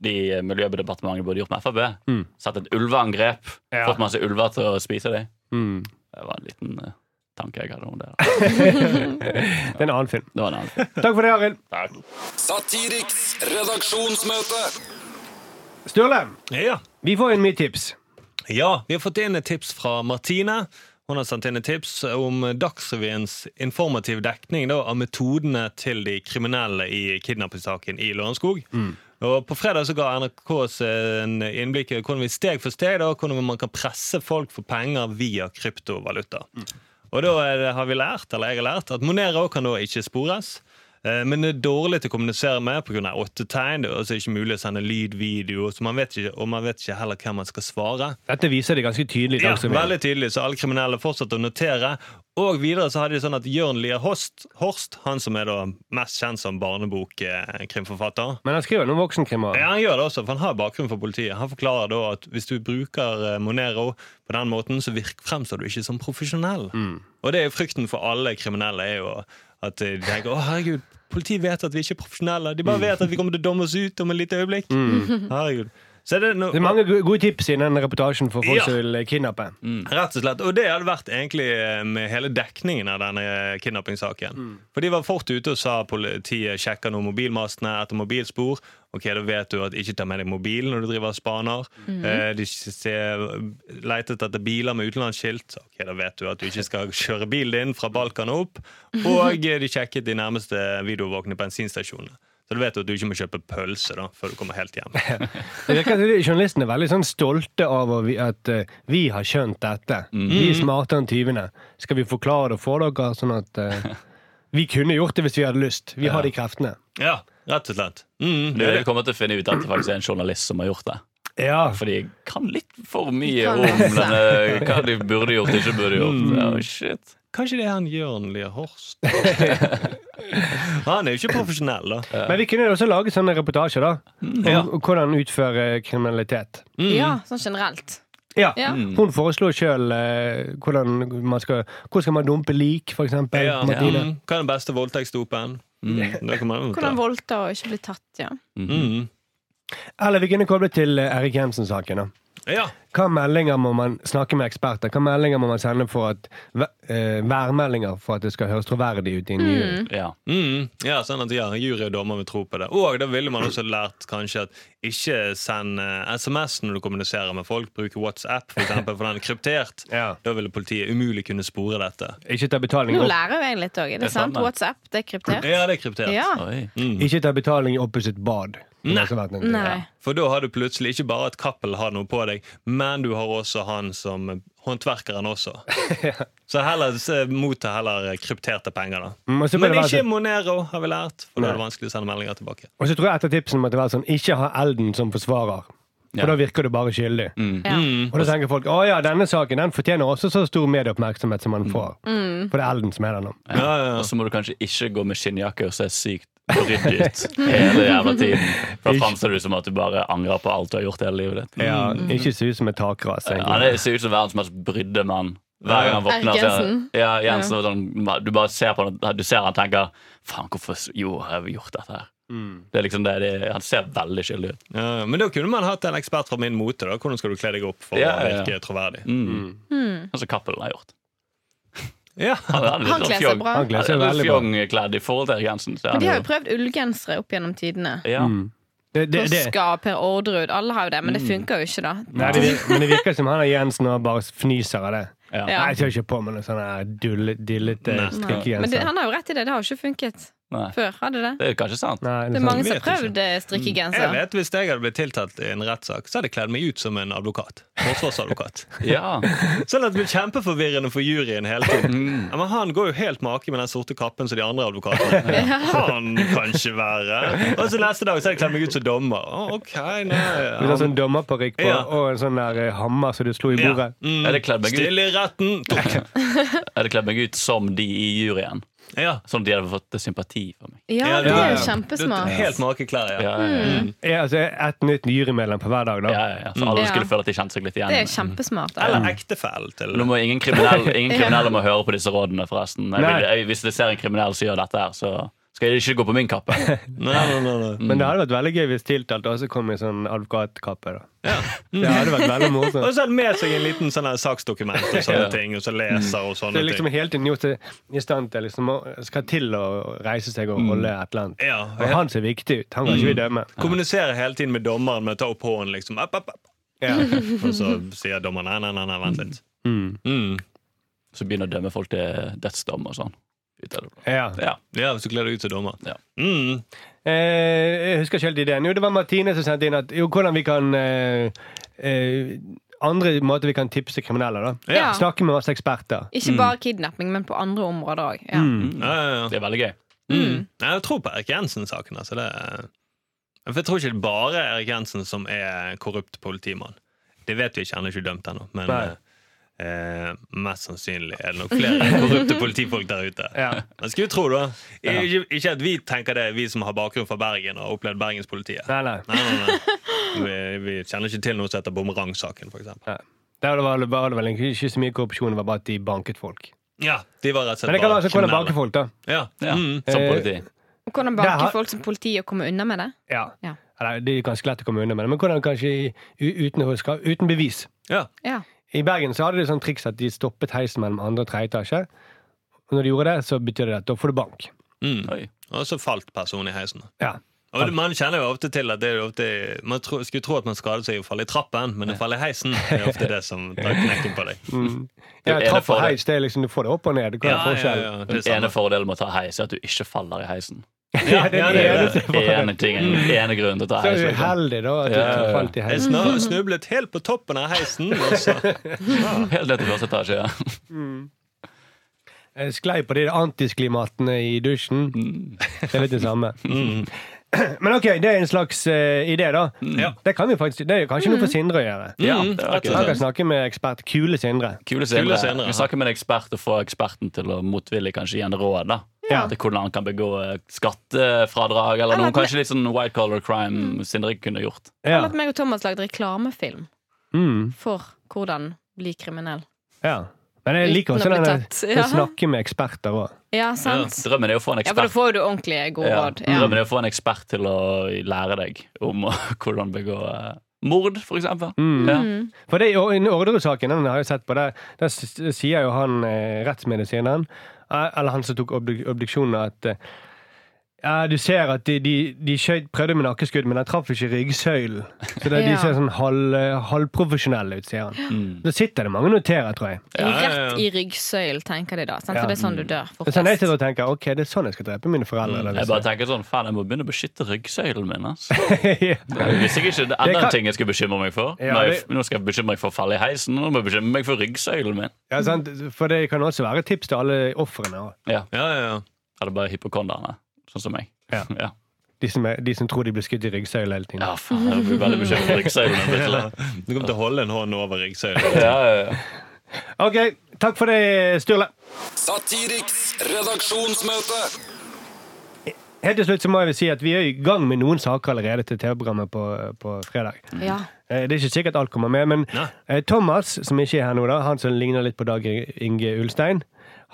D: de i Miljødepartementet burde gjort med Frp.
C: Mm.
D: Satt et ulveangrep.
C: Ja.
D: Fått masse ulver til å spise dem.
C: Mm.
D: Det var en liten eh, tanke jeg hadde om det. Da.
C: Det er en annen film.
D: Det var en annen.
C: Takk for det, Arild.
D: Takk.
E: Satiriks redaksjonsmøte.
C: Sturle,
F: Ja.
C: vi får inn mye tips.
F: ja, vi har fått inn et tips fra Martine. Hun har sendt inn et tips om Dagsrevyens informativ dekning da, av metodene til de kriminelle i kidnappingssaken i Lørenskog. Og På fredag så ga NRK oss eh, en innblikk i hvordan vi steg for steg da, hvordan man kan presse folk for penger via kryptovaluta. Og da er, det- har vi lært, eller jeg har lært, at Monero kan da ikke spores. Eh, Men det er dårlig til å kommunisere med pga. åttetegn. Det er altså ikke mulig å sende lyd, video, så man vet ikke, og man vet ikke heller hvem man skal svare.
C: Dette viser de ganske tydelig. i
F: Ja,
C: Dagsrevyen.
F: veldig tydelig, så alle kriminelle fortsatte å notere. Og videre så hadde de sånn at Jørn Lier Horst, Horst, han som er da mest kjent som barnebokkrimforfatter
C: Men han skriver noen voksenkrimmer.
F: ja, han gjør det også, for han har bakgrunn for politiet. Han forklarer da at hvis du bruker eh, Monero på den måten, så virk, fremstår du ikke som profesjonell.
C: Mm.
F: Og det er jo frykten for alle kriminelle, er jo at eh, de tenker å herregud,
C: Mm.
F: politiet vet at vi ikke er profesjonelle. De bare vet at vi kommer til å domme oss ut om et lite øyeblikk. Herregud. Så er det no
C: Det er mange go- gode tips i den reportasjen for folk
F: Ja.
C: som vil eh, kidnappe.
F: Rett og slett. Og det hadde vært egentlig eh, med hele dekningen av denne kidnappingssaken. For de var fort ute og sa politiet sjekker nå mobilmastene etter mobilspor. Ok, da vet du at ikke ta med deg mobilen når du driver og spaner. Eh, De ser, letet etter biler med utenlandsskilt. Ok, da vet du at du ikke skal kjøre bilen din fra Balkan og opp. Og eh, de sjekket de nærmeste videoovervåkne bensinstasjonene. Så du vet at du ikke må kjøpe pølse da, før du kommer helt hjem.
C: Det virker som de journalistene er veldig sånn stolte av å vi- at eh, vi har skjønt dette. Vi er smartere enn tyvene. Skal vi forklare det for dere, sånn at eh, vi kunne gjort det hvis vi hadde lyst. Vi har de kreftene.
F: Ja, rett og slett. Mm,
D: Du kommer til å finne ut at det faktisk er en journalist som har gjort det.
C: Ja,
D: Fordi jeg kan litt for mye
B: Kan
D: om
B: lese.
D: denne, hva de burde gjort og ikke burde gjort.
C: Mm.
D: Ja, shit.
F: Kanskje det er han Jørn Lier Horst? han er jo ikke profesjonell, da.
C: Men vi kunne jo også lage sånne reportasjer da om hvordan utføre kriminalitet.
D: Mm.
B: Ja, sånn generelt.
C: Ja.
B: Ja.
C: Hun foreslo sjøl eh, hvordan man skal Hvor skal man dumpe lik, for eksempel.
F: Ja.
C: Martine. Mm.
F: Mm. Hva er den beste voldtektsdopen? Det kan man jo ta.
B: Hvordan voldta og ikke bli tatt, ja.
F: Mm.
C: Eller vi kunne koble til eh, Erik Jensen-saken. da
F: Ja.
C: Hva meldinger må man snakke med eksperter? Hva meldinger må man sende for at eh, værmeldinger for at det skal høres troverdig ut i en jury?
D: Ja.
F: Mm. ja, sånn at ja, jury og dommer vil tro på det. Og da ville man også lært kanskje at ikke send eh, SMS når du kommuniserer med folk. Bruk WhatsApp, for eksempel, for den er kryptert.
C: Ja.
F: Da ville politiet umulig kunne spore dette.
C: Ikke ta betaling
B: Nå
C: opp.
B: lærer jo jeg litt òg. Er det
D: Det
B: sant?
D: stemmer.
B: WhatsApp, det er kryptert.
F: Ja, det er kryptert.
B: Ja.
D: Oi.
C: Ikke ta betaling i opposite bad. Det har også vært en ting.
B: Nei.
F: For da har du plutselig ikke bare at Cappelen har noe på deg, men du har også han som håndverkeren også. Så heller se- motta heller krypterte penger, da.
C: Mm, og så bør
F: Men
C: det være
F: ikke
C: sånn-
F: Monero, har vi lært, for da er det vanskelig å sende meldinger tilbake.
C: Og så tror jeg etter tipsen måtte være sånn Ikke ha Elden som forsvarer. For
D: Ja.
C: da virker du bare skyldig.
B: Ja.
C: Og da tenker folk å ja, denne saken den fortjener også så stor medieoppmerksomhet som man får.
B: Mm.
C: For det er Elden som er den nå.
F: Ja, ja,
D: Og
F: ja.
D: så må du kanskje ikke gå med skinnjakke og se sykt ryddig ut hele jævla tiden. For da framstår du som at du bare angrer på alt du har gjort hele livet ditt.
C: Ja, Ikke se ut som et takras.
D: Ja,
C: egentlig.
D: det ser ut som verdens mest brydde mann. Hver gang han våkner
B: Erik
D: så-
B: Jensen.
D: Ja, Jensen og sånn, Du bare ser på han Du ser han tenker Faen, hvorfor s- jo, har jeg gjort dette her?
C: Mm.
D: Det er liksom det, det Han ser veldig skyldig ut.
F: Ja, ja. Men da kunne man hatt en ekspert fra min mote. da Hvordan skal du kle deg opp for
D: Ja,
F: å
D: ja, ja.
F: virke troverdig?
D: Mm. Sånn som Cappelen har gjort.
F: Ja.
D: er litt
B: Han
D: sånn
B: kler
D: fjong-
B: seg bra.
C: Han
D: Ja,
C: kler
D: det
C: seg
D: er
C: veldig bra.
D: Fjongkledd i forhold til Erik Jensen. så er
B: Men de har
D: han
B: jo prøvd ullgensere opp gjennom tidene.
D: jo-
C: Mm.
D: ja.
C: Det, det, det.
B: Koska, Per Orderud. Alle har jo det, men det
D: Mm.
B: funker jo ikke, da.
C: Nei, det virker, men det virker som han og Jensen og bare fnyser av det.
D: Ja.
B: Ja.
C: Nei, jeg ser ikke på med noen sånne dulle- dillete
F: Nei.
B: Nei. Men det,
C: strikkegenser.
B: han har jo rett i det. Det har jo ikke funket
D: Nei.
B: før. Hadde det?
D: Det er kanskje sant.
C: Nei,
B: Det
C: det
B: er
C: er sant.
B: mange som har
F: vet ikke. Mm,
B: prøvd eh,
F: Jeg
B: strikkegenser.
F: vet, Hvis jeg hadde blitt tiltalt i en rettssak, så hadde jeg kledd meg ut som en advokat. Forsvarsadvokat.
D: Ja.
C: Mm.
F: Sånn at det blir kjempeforvirrende for juryen hele tiden. Ja, men han går jo helt make med den sorte kappen som de andre advokatene. Han kan ikke være Og så neste dag så hadde jeg kledd meg ut som dommer. Å, ok, nei
C: Du har
F: han,
C: sånn dommerparykk på
F: Ja.
C: og en sånn der eh, hammer som du slo i
F: ja.
C: bordet.
F: mm,
D: Jeg hadde kledd meg ut.
F: Stille i retten!
D: Jeg hadde kledd meg ut som de i juryen.
F: Ja.
D: Sånn at de hadde fått sympati for meg.
B: Ja,
F: Ja,
B: det
F: ja,
B: er jo
F: ja. Du-
B: kjempesmart.
F: Helt makeklær, ja.
D: Ja, ja, ja.
C: Ja, altså, ett nytt jurymedlem på hver dag, da.
D: Ja, ja, ja. Så alle
B: Mm. Ja.
D: skulle føle at de kjente seg litt igjen.
B: Det er kjempesmart. altså. da.
F: Eller ektefelle til
D: Nå må ingen kriminelle, ingen kriminelle må høre på disse rådene, forresten. Jeg vil, jeg, hvis jeg ser en kriminell som gjør dette her, så skal det ikke gå på min kappe.
F: Nei, nei, nei, nei.
C: Men det hadde vært veldig gøy hvis tiltalte også kom i sånn advokatkappe. da
F: Ja.
C: Det hadde vært veldig
F: Og
C: morsomt.
F: så har han med seg en liten sånn her saksdokument og sånne
D: Ja.
F: ting, og så leser og
C: Det
F: sånne
C: er liksom
F: ting.
C: hele tiden gjort seg i stand til liksom, å- skal til å reise seg og holde et eller annet.
F: Ja,
C: Og han ser viktig ut. Han kan ikke vi dømme.
F: Kommuniserer hele tiden med dommeren med å ta opp hånden, liksom. App, app, app.
C: Ja.
F: Og så sier dommeren nei, nei, nei, nei vent litt.
C: Mm.
F: Mm.
D: Så begynner å dømme folk til dødsdom og sånn. Ut av det.
C: Ja.
D: Ja.
F: Ja, hvis du kler deg ut som dommer.
D: Ja.
F: Mm.
C: Eh, jeg husker ikke helt ideen. Jo, det var Martine som sendte inn at jo, hvordan vi kan eh, eh, Andre måter vi kan tipse kriminelle, da.
B: Ja.
C: Snakke med masse eksperter.
B: Ikke bare kidnapping, men på andre områder òg. Ja.
C: Mm.
F: Ja, ja, ja.
D: Det er veldig gøy.
F: Mm. Nei, Jeg tror på Erik Jensen-saken. Altså det er- for jeg tror ikke det bare er Erik Jensen som er korrupt politimann. Det vet vi ikke, han er ikke dømt ennå. Men
C: Nei.
F: eh, mest sannsynlig er det nok flere korrupte politifolk der ute.
C: Ja.
F: Man skulle tro det. Ikke, ikke at vi tenker det, vi som har bakgrunn fra Bergen og har opplevd bergenspolitiet.
C: Nei, nei.
F: Nei, nei, nei. Vi, vi kjenner ikke til noe som heter bumerangsaken, f.eks.
C: nei. Der var det, var det vel egentlig ikke så mye korrupsjon, det var bare at de banket folk.
F: Ja, de var rett og slett
C: Men det kan
F: bare
C: være sånn hvordan
F: kriminelle.
C: banke folk, da.
F: Ja.
D: Ja.
F: Mm.
D: Som politi.
B: Og Hvordan
C: Der har-
B: banker folk som politi og kommer unna med det?
C: Ja.
B: Ja.
C: Eller det er ganske lett å komme unna med det, men hvordan kanskje i, u- uten, å huske, uten bevis.
F: Ja.
B: Ja.
C: I Bergen så hadde de sånn triks at de stoppet heisen mellom andre og tredje etasje. Og når de gjorde det, så betydde det at da får du bank.
F: Mm.
D: Oi.
F: Og så falt personen i heisen.
C: Ja.
F: Og det- Man kjenner jo ofte til at det er jo ofte, man tro, skulle tro at man skadet seg i å falle i trappen, men å falle i heisen er ofte det som tar knekken på deg.
C: ja
D: er det
C: trapp
D: for
C: og
D: det?
C: heis, det er liksom, du får det opp og ned. Hva er
F: Ja, ja,
C: forskjellen?
F: ja, det
D: Den
F: er samme.
D: ene fordelen med å ta heis er at du ikke faller i heisen.
F: Ja,
C: det er
F: ja,
D: Det
F: det er
D: er
F: det.
D: den ene tingen, den ene grunnen til å ta
C: Så er
D: heis.
C: du
F: sånn.
D: liksom.
C: uheldig, da, at du
D: Ja, ja, ja.
C: falt i
F: Jeg
C: heisen.
F: snu- snublet helt på toppen av heisen. altså. Og så.
D: Helt ned til første etasje. ja.
C: Jeg sklei på de antisklimatene i dusjen.
F: Mm.
C: Det er litt det samme. Men ok, det er en slags eh, idé, da.
F: Mm. Ja.
C: Det kan vi faktisk, det er jo kanskje noe for Sindre å gjøre.
D: Ja,
F: Mm,
D: det var ikke
C: Han kan
D: sant.
C: snakke med ekspert Kule Sindre.
D: Kule
F: Kule
D: senere.
F: senere, ja.
D: Vi snakker med en ekspert og får eksperten til å motvillig kanskje gi en råd da.
C: Ja.
D: til hvordan han kan begå eh, skattefradrag eller
B: Eller
D: noe
B: at-
D: kanskje litt sånn white collar crime Sindre ikke kunne gjort.
B: Eller
C: Ja.
B: at meg og Thomas lagde reklamefilm
C: Mm,
B: for hvordan bli kriminell.
C: ja. Men jeg liker
B: Uten
C: også
B: å bli
C: den
B: tatt,
C: å
B: ja.
C: snakke med eksperter òg.
B: Ja, sant?
D: Drømmen er å få en
B: Ja, for da
D: ekspert
B: får du ordentlig gode
D: Ja,
B: råd. Ja. Mm.
D: Drømmen er å få en ekspert til å lære deg om hvordan begå eh, mord, for eksempel.
C: Mm.
D: Ja.
C: For det i Or- i Orderud-saken, den har jeg sett på, der, der s- sier jo han eh, rettsmedisineren, eh, eller han som tok obdu- obduksjonen, at eh, ja, du ser at de, de, de skjøt, prøvde med nakkeskudd, men den traff ikke ryggsøylen. Så det,
B: Ja.
C: de ser sånn halv, halvprofesjonelle ut, sier han.
D: Mm.
C: Da sitter det mange og noterer, tror jeg.
F: Ja, ja, ja.
B: Rett i ryggsøylen, tenker de da. Sant?
C: Ja.
B: For det er sånn du dør
C: Det er sånn jeg
B: fortest.
C: sitter og tenker ok, det er sånn jeg skal drepe mine foreldre. eller
D: Jeg
C: hvis
D: bare tenker sånn, faen, jeg må begynne å beskytte ryggsøylen min. ass.
C: jeg-
D: Hvis jeg ikke, det er
C: Det
D: enda
C: kan-
D: en ting jeg skal bekymre meg for.
C: Ja,
D: Nå er
C: det-
D: jeg- Nå skal jeg bekymre meg for å falle i heisen, nå må jeg bekymre meg for ryggsøylen min.
C: ja, sant? For det kan også være et tips til alle ofrene, også.
F: Ja, ja, ja.
D: Eller bare hypokonderne, sånn som meg.
C: Ja.
D: Ja,
C: de som, er, de som tror de blir skutt i ryggsøylen hele tiden.
D: ja faen, jeg blir veldig bekymret for ryggsøylen min.
F: Ja.
D: plutselig.
F: Du kommer til å holde en hånd over ryggsøylen.
D: Ja, ja, ja.
C: Ok, takk for det, Sturle.
E: Satiriks redaksjonsmøte.
C: Helt til slutt så må jeg vel si at vi er i gang med noen saker allerede til TV-programmet på, på fredag.
B: Ja.
C: Eh, Det er ikke sikkert alt kommer med, men
F: Nei.
C: eh, Thomas, som ikke er her nå, da, han som ligner litt på Dag Inge Ulstein,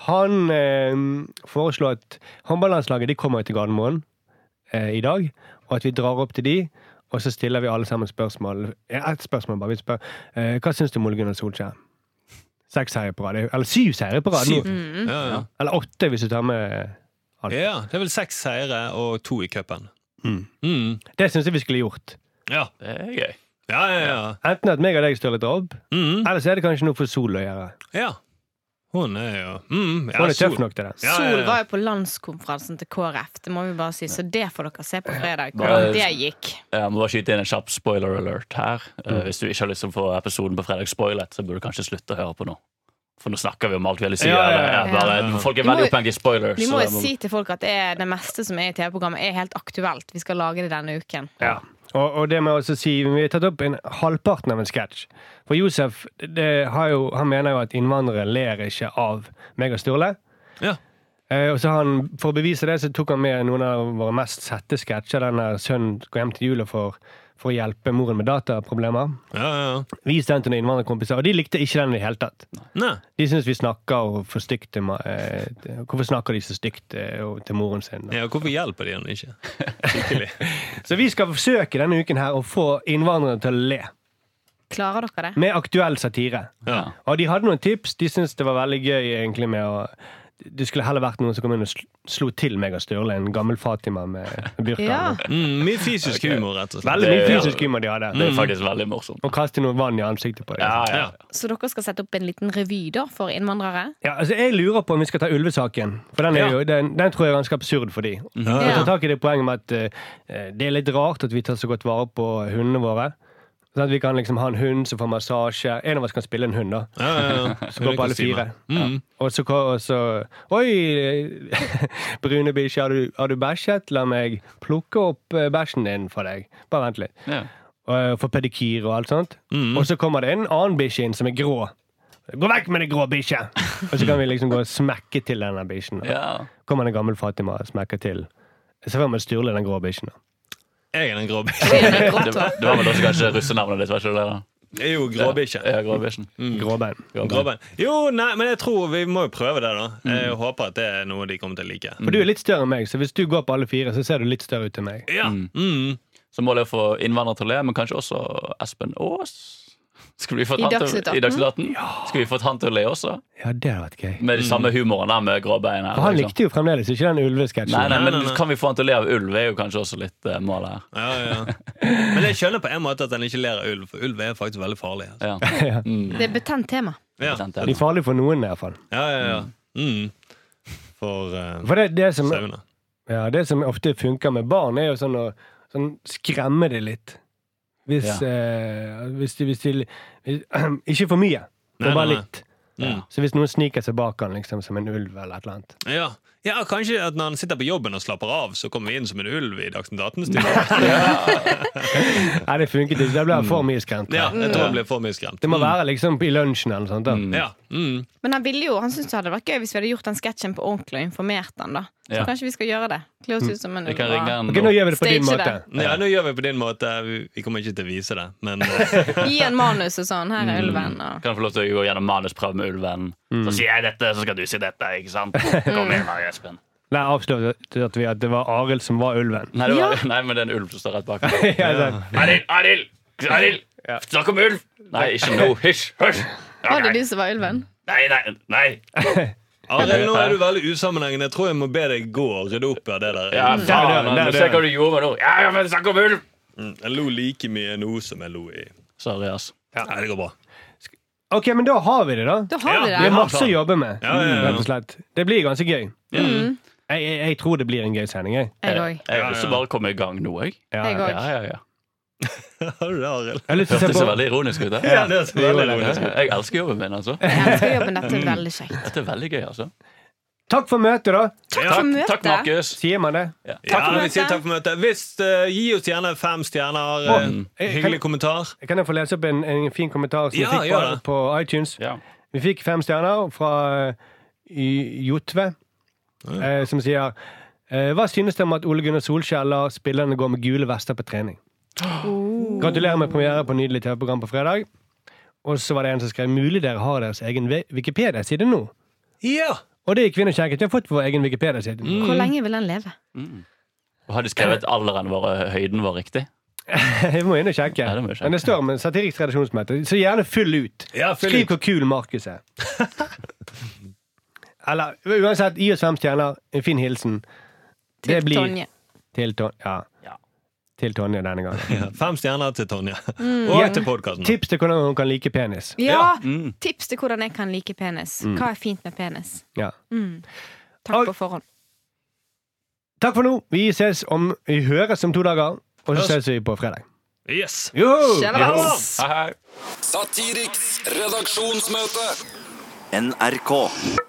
C: han eh, foreslår at håndballandslaget de kommer til Gardermoen eh, i dag, og at vi drar opp til de, og så stiller vi alle sammen spørsmål. Eh, Ett spørsmål bare. Vi spør eh, hva syns du om Ole Gunnar Solskjær? Seks seire på rad. Eller syv seire på rad. nå.
F: Ja, ja.
C: Eller åtte, hvis du tar med alt.
F: ja, det er vel seks seire og to i cupen.
C: Mm.
F: Mm.
C: Det syns jeg vi skulle gjort.
F: Ja.
D: Det er gøy.
F: Ja, ja, ja.
C: Enten at meg og deg står litt opp,
F: Mm.
C: eller så er det kanskje noe for Sol å gjøre.
F: ja. Hun er jo mm. ja,
C: Hun er tøff
F: Sol.
C: nok til det.
F: Ja, ja, ja.
B: Sol var jo på landskonferansen til KrF, det må vi bare si. Så det får dere se på fredag,
D: Bare-
B: hvordan det gikk.
D: Jeg må bare skyte inn en kjapp spoiler alert her. Eh,
C: Mm.
D: Hvis du ikke har lyst til å få episoden på fredag spoilet, så burde du kanskje slutte å høre på nå. For nå snakker vi om alt vi har lyst til å
C: Ja, ja,
D: gjøre.
C: ja.
D: Jeg Bare,
F: Ja.
D: folk er
B: Vi må
D: veldig
B: jo-
D: opphengt i spoilers.
B: Vi
D: så
B: må
D: det
B: jo si til folk at det, er det meste som er i TV-programmet, er helt aktuelt. Vi skal lage det denne uken.
C: Ja. Og, og det må jeg også si, vi har tatt opp en halvparten av en sketsj. For Josef det har jo, han mener jo at innvandrere ler ikke av meg og Sturle.
F: Ja.
C: Eh, og så har han, For å bevise det så tok han med noen av våre mest sette sketsjer. Den der 'Sønnen går hjem til jula for, for å hjelpe moren med dataproblemer'.
F: Ja, ja.
C: Vis den til noen innvandrerkompiser, og de likte ikke den i det hele tatt.
F: Nei.
C: De syns vi snakker for stygt til ma- eh, Hvorfor snakker de så stygt eh, til moren sin?
F: Ja, hvorfor hjelper de henne ikke? Skikkelig.
C: Så vi skal forsøke denne uken her å få innvandrere til å le.
B: Klarer dere det?
C: Med aktuell satire.
F: Ja.
C: Og de hadde noen tips. De syntes det var veldig gøy egentlig med å Det skulle heller vært noen som kom inn og sl- slo til meg og Sturle. En gammel Fatima med burka.
B: Ja.
F: Mm, mye fysisk humor, rett og slett.
C: Veldig mye
D: Det-
C: fysisk humor de hadde.
D: Det er faktisk veldig morsomt.
C: Og kaste noe vann i ansiktet på dem.
D: Ja, ja.
F: Ja.
B: Så dere skal sette opp en liten revy da for innvandrere?
C: Ja, altså Jeg lurer på om vi skal ta ulvesaken. For Den, er
F: Ja.
C: jo, den, den tror jeg er ganske absurd for de. Og
B: Ja.
C: ta tak i det poenget med at eh, det er litt rart at vi tar så godt vare på hundene våre. Sånn at vi kan liksom ha en hund som får massasje. En av oss kan spille en hund, da.
F: Ja, ja, ja.
C: Så går på alle fire.
F: Mm.
C: Og så, og så Oi, brune bikkje, har, du- har du bæsjet? La meg plukke opp eh, bæsjen din for deg. Bare vent litt.
D: Ja. Mhm.
C: Og for pedikyr og alt sånt. Og så kommer det en annen bikkje inn som er grå. Gå vekk med det grå bikkje! Og så kan vi liksom gå og smekke til denne bikkjen. da.
D: Ja.
C: Kommer det en gammel Fatima og smekker til. Så får man Sturle den grå bikkjen. da.
F: Jeg er den grå bikkjen.
B: Det er
D: Det,
B: grått hår.
D: det var vel også kanskje russenavnet ditt, var ikke det? da?
F: Jeg er jo gråbikkje.
D: Ja, Gråbikkjen.
C: Gråbein.
F: Grabben. Jo, nei, men jeg tror vi må jo prøve det, da. Jeg håper at det er
D: Mm.
C: Mm.
F: noe de kommer til å like.
C: For du er litt større enn meg, så hvis du går på alle fire, så ser du litt større ut enn meg.
F: Ja. Mm.
D: Så målet er å få innvandrere til å le, men kanskje også Espen Aas. Skulle vi fått
B: I
D: han til-
B: Dagsnytt 18?
D: I Dagsnytt 18? Skulle vi fått han til å le også?
C: Ja, det hadde vært gøy.
D: Med de samme humoren der med gråbein
C: Mm.
D: her.
C: For han
D: liksom.
C: likte jo fremdeles ikke den
D: Nei,
C: ulvesketsjen.
D: nei, men
F: Nei, nei, nei.
D: kan vi få han til å le av ulv, er jo kanskje også litt eh, målet her.
F: Ja, ja. Men jeg skjønner på en måte at han ikke ler av ulv, for ulv er faktisk veldig farlig. Altså.
D: Ja. Mm,
B: Det er et betent tema.
F: Ja,
D: sant,
F: ja,
D: ja.
C: De er farlige for noen, i hvert fall.
F: ja, ja. Mm. For eh,
C: For det, det, som,
F: sauene.
C: ja, det som ofte funker med barn, er jo sånn å sånn, skremme det litt. Hvis,
D: Ja.
C: eh, hvis de, hvis de hvis, Ikke for mye,
F: Nei,
C: men bare
F: nei, nei.
C: litt.
F: Mm.
C: Så hvis noen sniker seg bak han liksom, som en ulv eller et eller annet
F: Ja. ja, kanskje at når han sitter på jobben og slapper av, så kommer vi inn som en ulv i Dagsnytt 18. -studio.
C: Nei, det funket ikke. Da ble han for mye skremt.
F: Mm. Ja, jeg tror han blir for mye skremt. Mm.
C: Det må være liksom i lunsjen eller noe sånt. Da.
F: Ja. Mm.
B: Men han ville jo, han syntes det hadde vært gøy hvis vi hadde gjort den sketsjen på ordentlig og informert han da. Så
D: Ja.
B: kanskje vi skal gjøre det. Kle oss ut som en
D: Vi kan ringe han
C: Ok, nå
D: nå.
C: gjør vi det på din
B: Stage
C: måte.
B: det.
F: ja, nå gjør vi på din måte. Vi- Vi kommer ikke til å vise det, men eh,
B: Gi en manus og sånn. Her er ulven. Og.
D: Kan jeg få lov til å gå gjennom manusprøve med ulven?
C: Mm.
D: Så sier jeg dette, så skal du si dette. ikke sant? Kom igjen, da, Espen.
C: Nei, avslørte vi at det var Arild som var ulven.
D: Nei, det var,
B: Ja.
D: nei, men det er en ulv som står rett bak.
C: ja, sant.
D: Arild! Arild! Arild! Snakk om ulv! Nei, ikke nå. Hysj! Hysj!
B: Var det
D: Ok.
B: du som var ulven?
D: Nei, nei, nei!
F: Arild, nå er du veldig usammenhengende. Jeg tror jeg må be deg gå og rydde opp i det der.
D: Mm. Ja, faen,
C: der,
D: nå
C: der.
D: ser jeg hva du gjorde med nå. Ja, ja, men snakk om ulv!
F: Mm. Jeg lo like mye nå som jeg lo i
D: Sorry, ass.
F: Nei, det går bra.
C: Ok, men da har vi det, da.
B: Da har vi
C: Vi har
B: det.
C: masse å jobbe med,
F: Ja, ja, ja.
C: rett og slett. Det blir ganske gøy. Jeg, jeg, jeg tror det blir en gøy sending, jeg.
B: Jeg òg.
D: Jeg har lyst til å bare komme i gang nå, jeg.
C: Ja,
B: Jeg
C: jeg
D: Ja, ja, ja.
F: Har du det, Arild?
C: har lyst til å se
D: Hørtes så
C: på
D: veldig ironisk ut.
F: Ja,
D: da.
F: det er så veldig
D: Ja,
F: ironisk.
D: Jeg elsker jobben min, altså.
B: Jeg elsker jobben. Dette er veldig kjekt.
D: Dette er veldig gøy, altså.
C: Takk for møtet, da!
B: Takk for møtet.
D: Takk, Markus.
C: Sier man det?
B: Takk for
F: Ja, vi
B: møtet.
F: sier takk for møtet. Hvis, eh, gi oss gjerne fem stjerner. eh,
C: Å, eh,
F: hyggelig kommentar.
C: Kan jeg få lese opp en, en fin kommentar som
F: Ja,
C: vi fikk på,
F: gjør det.
C: på iTunes?
D: Ja.
C: Vi fikk fem stjerner fra eh, Y- Jotve, eh, som sier eh, Hva synes dere om at Ole Gunnar Solskjær lar spillerne gå med gule vester på trening? Gratulerer med premiere på nydelig TV-program på fredag. Og så var det en som skrev mulig dere har deres egen Ve- Wikipedia-side nå.
F: Ja!
C: Og det gikk vi inn og sjekket. Vi har fått vår egen Wikipedia-side. nå.
B: Hvor lenge vil han leve?
D: Og Har de skrevet alderen vår, eh, høyden vår riktig?
C: Vi må inn og sjekke.
D: Ja, det må vi sjekke.
C: Men det står med satirisk redaksjonsmøte. Så gjerne fyll ut.
F: Ja, fyll
C: Skriv
F: ut.
C: hvor kul Markus er. Eller uansett, gi oss fem stjerner. En fin hilsen. Det
B: Til
C: blir-
B: Tonje.
C: Til, Ton ja.
D: Ja.
C: til Tonje denne gangen.
F: Ja, Fem stjerner til Tonje. Og til podkasten.
C: Tips til hvordan hun kan like penis.
B: Ja! Tips til hvordan jeg kan like penis. Hva er fint med penis?
C: Ja.
B: Takk
C: Og-
B: på forhånd.
C: Takk for nå. Vi ses om Vi høres om to dager, og så
F: Høres.
C: ses vi på fredag.
F: Yes.
C: Joho!
B: Kjellers!
D: Hei, hei.
E: Satiriks redaksjonsmøte.
A: NRK.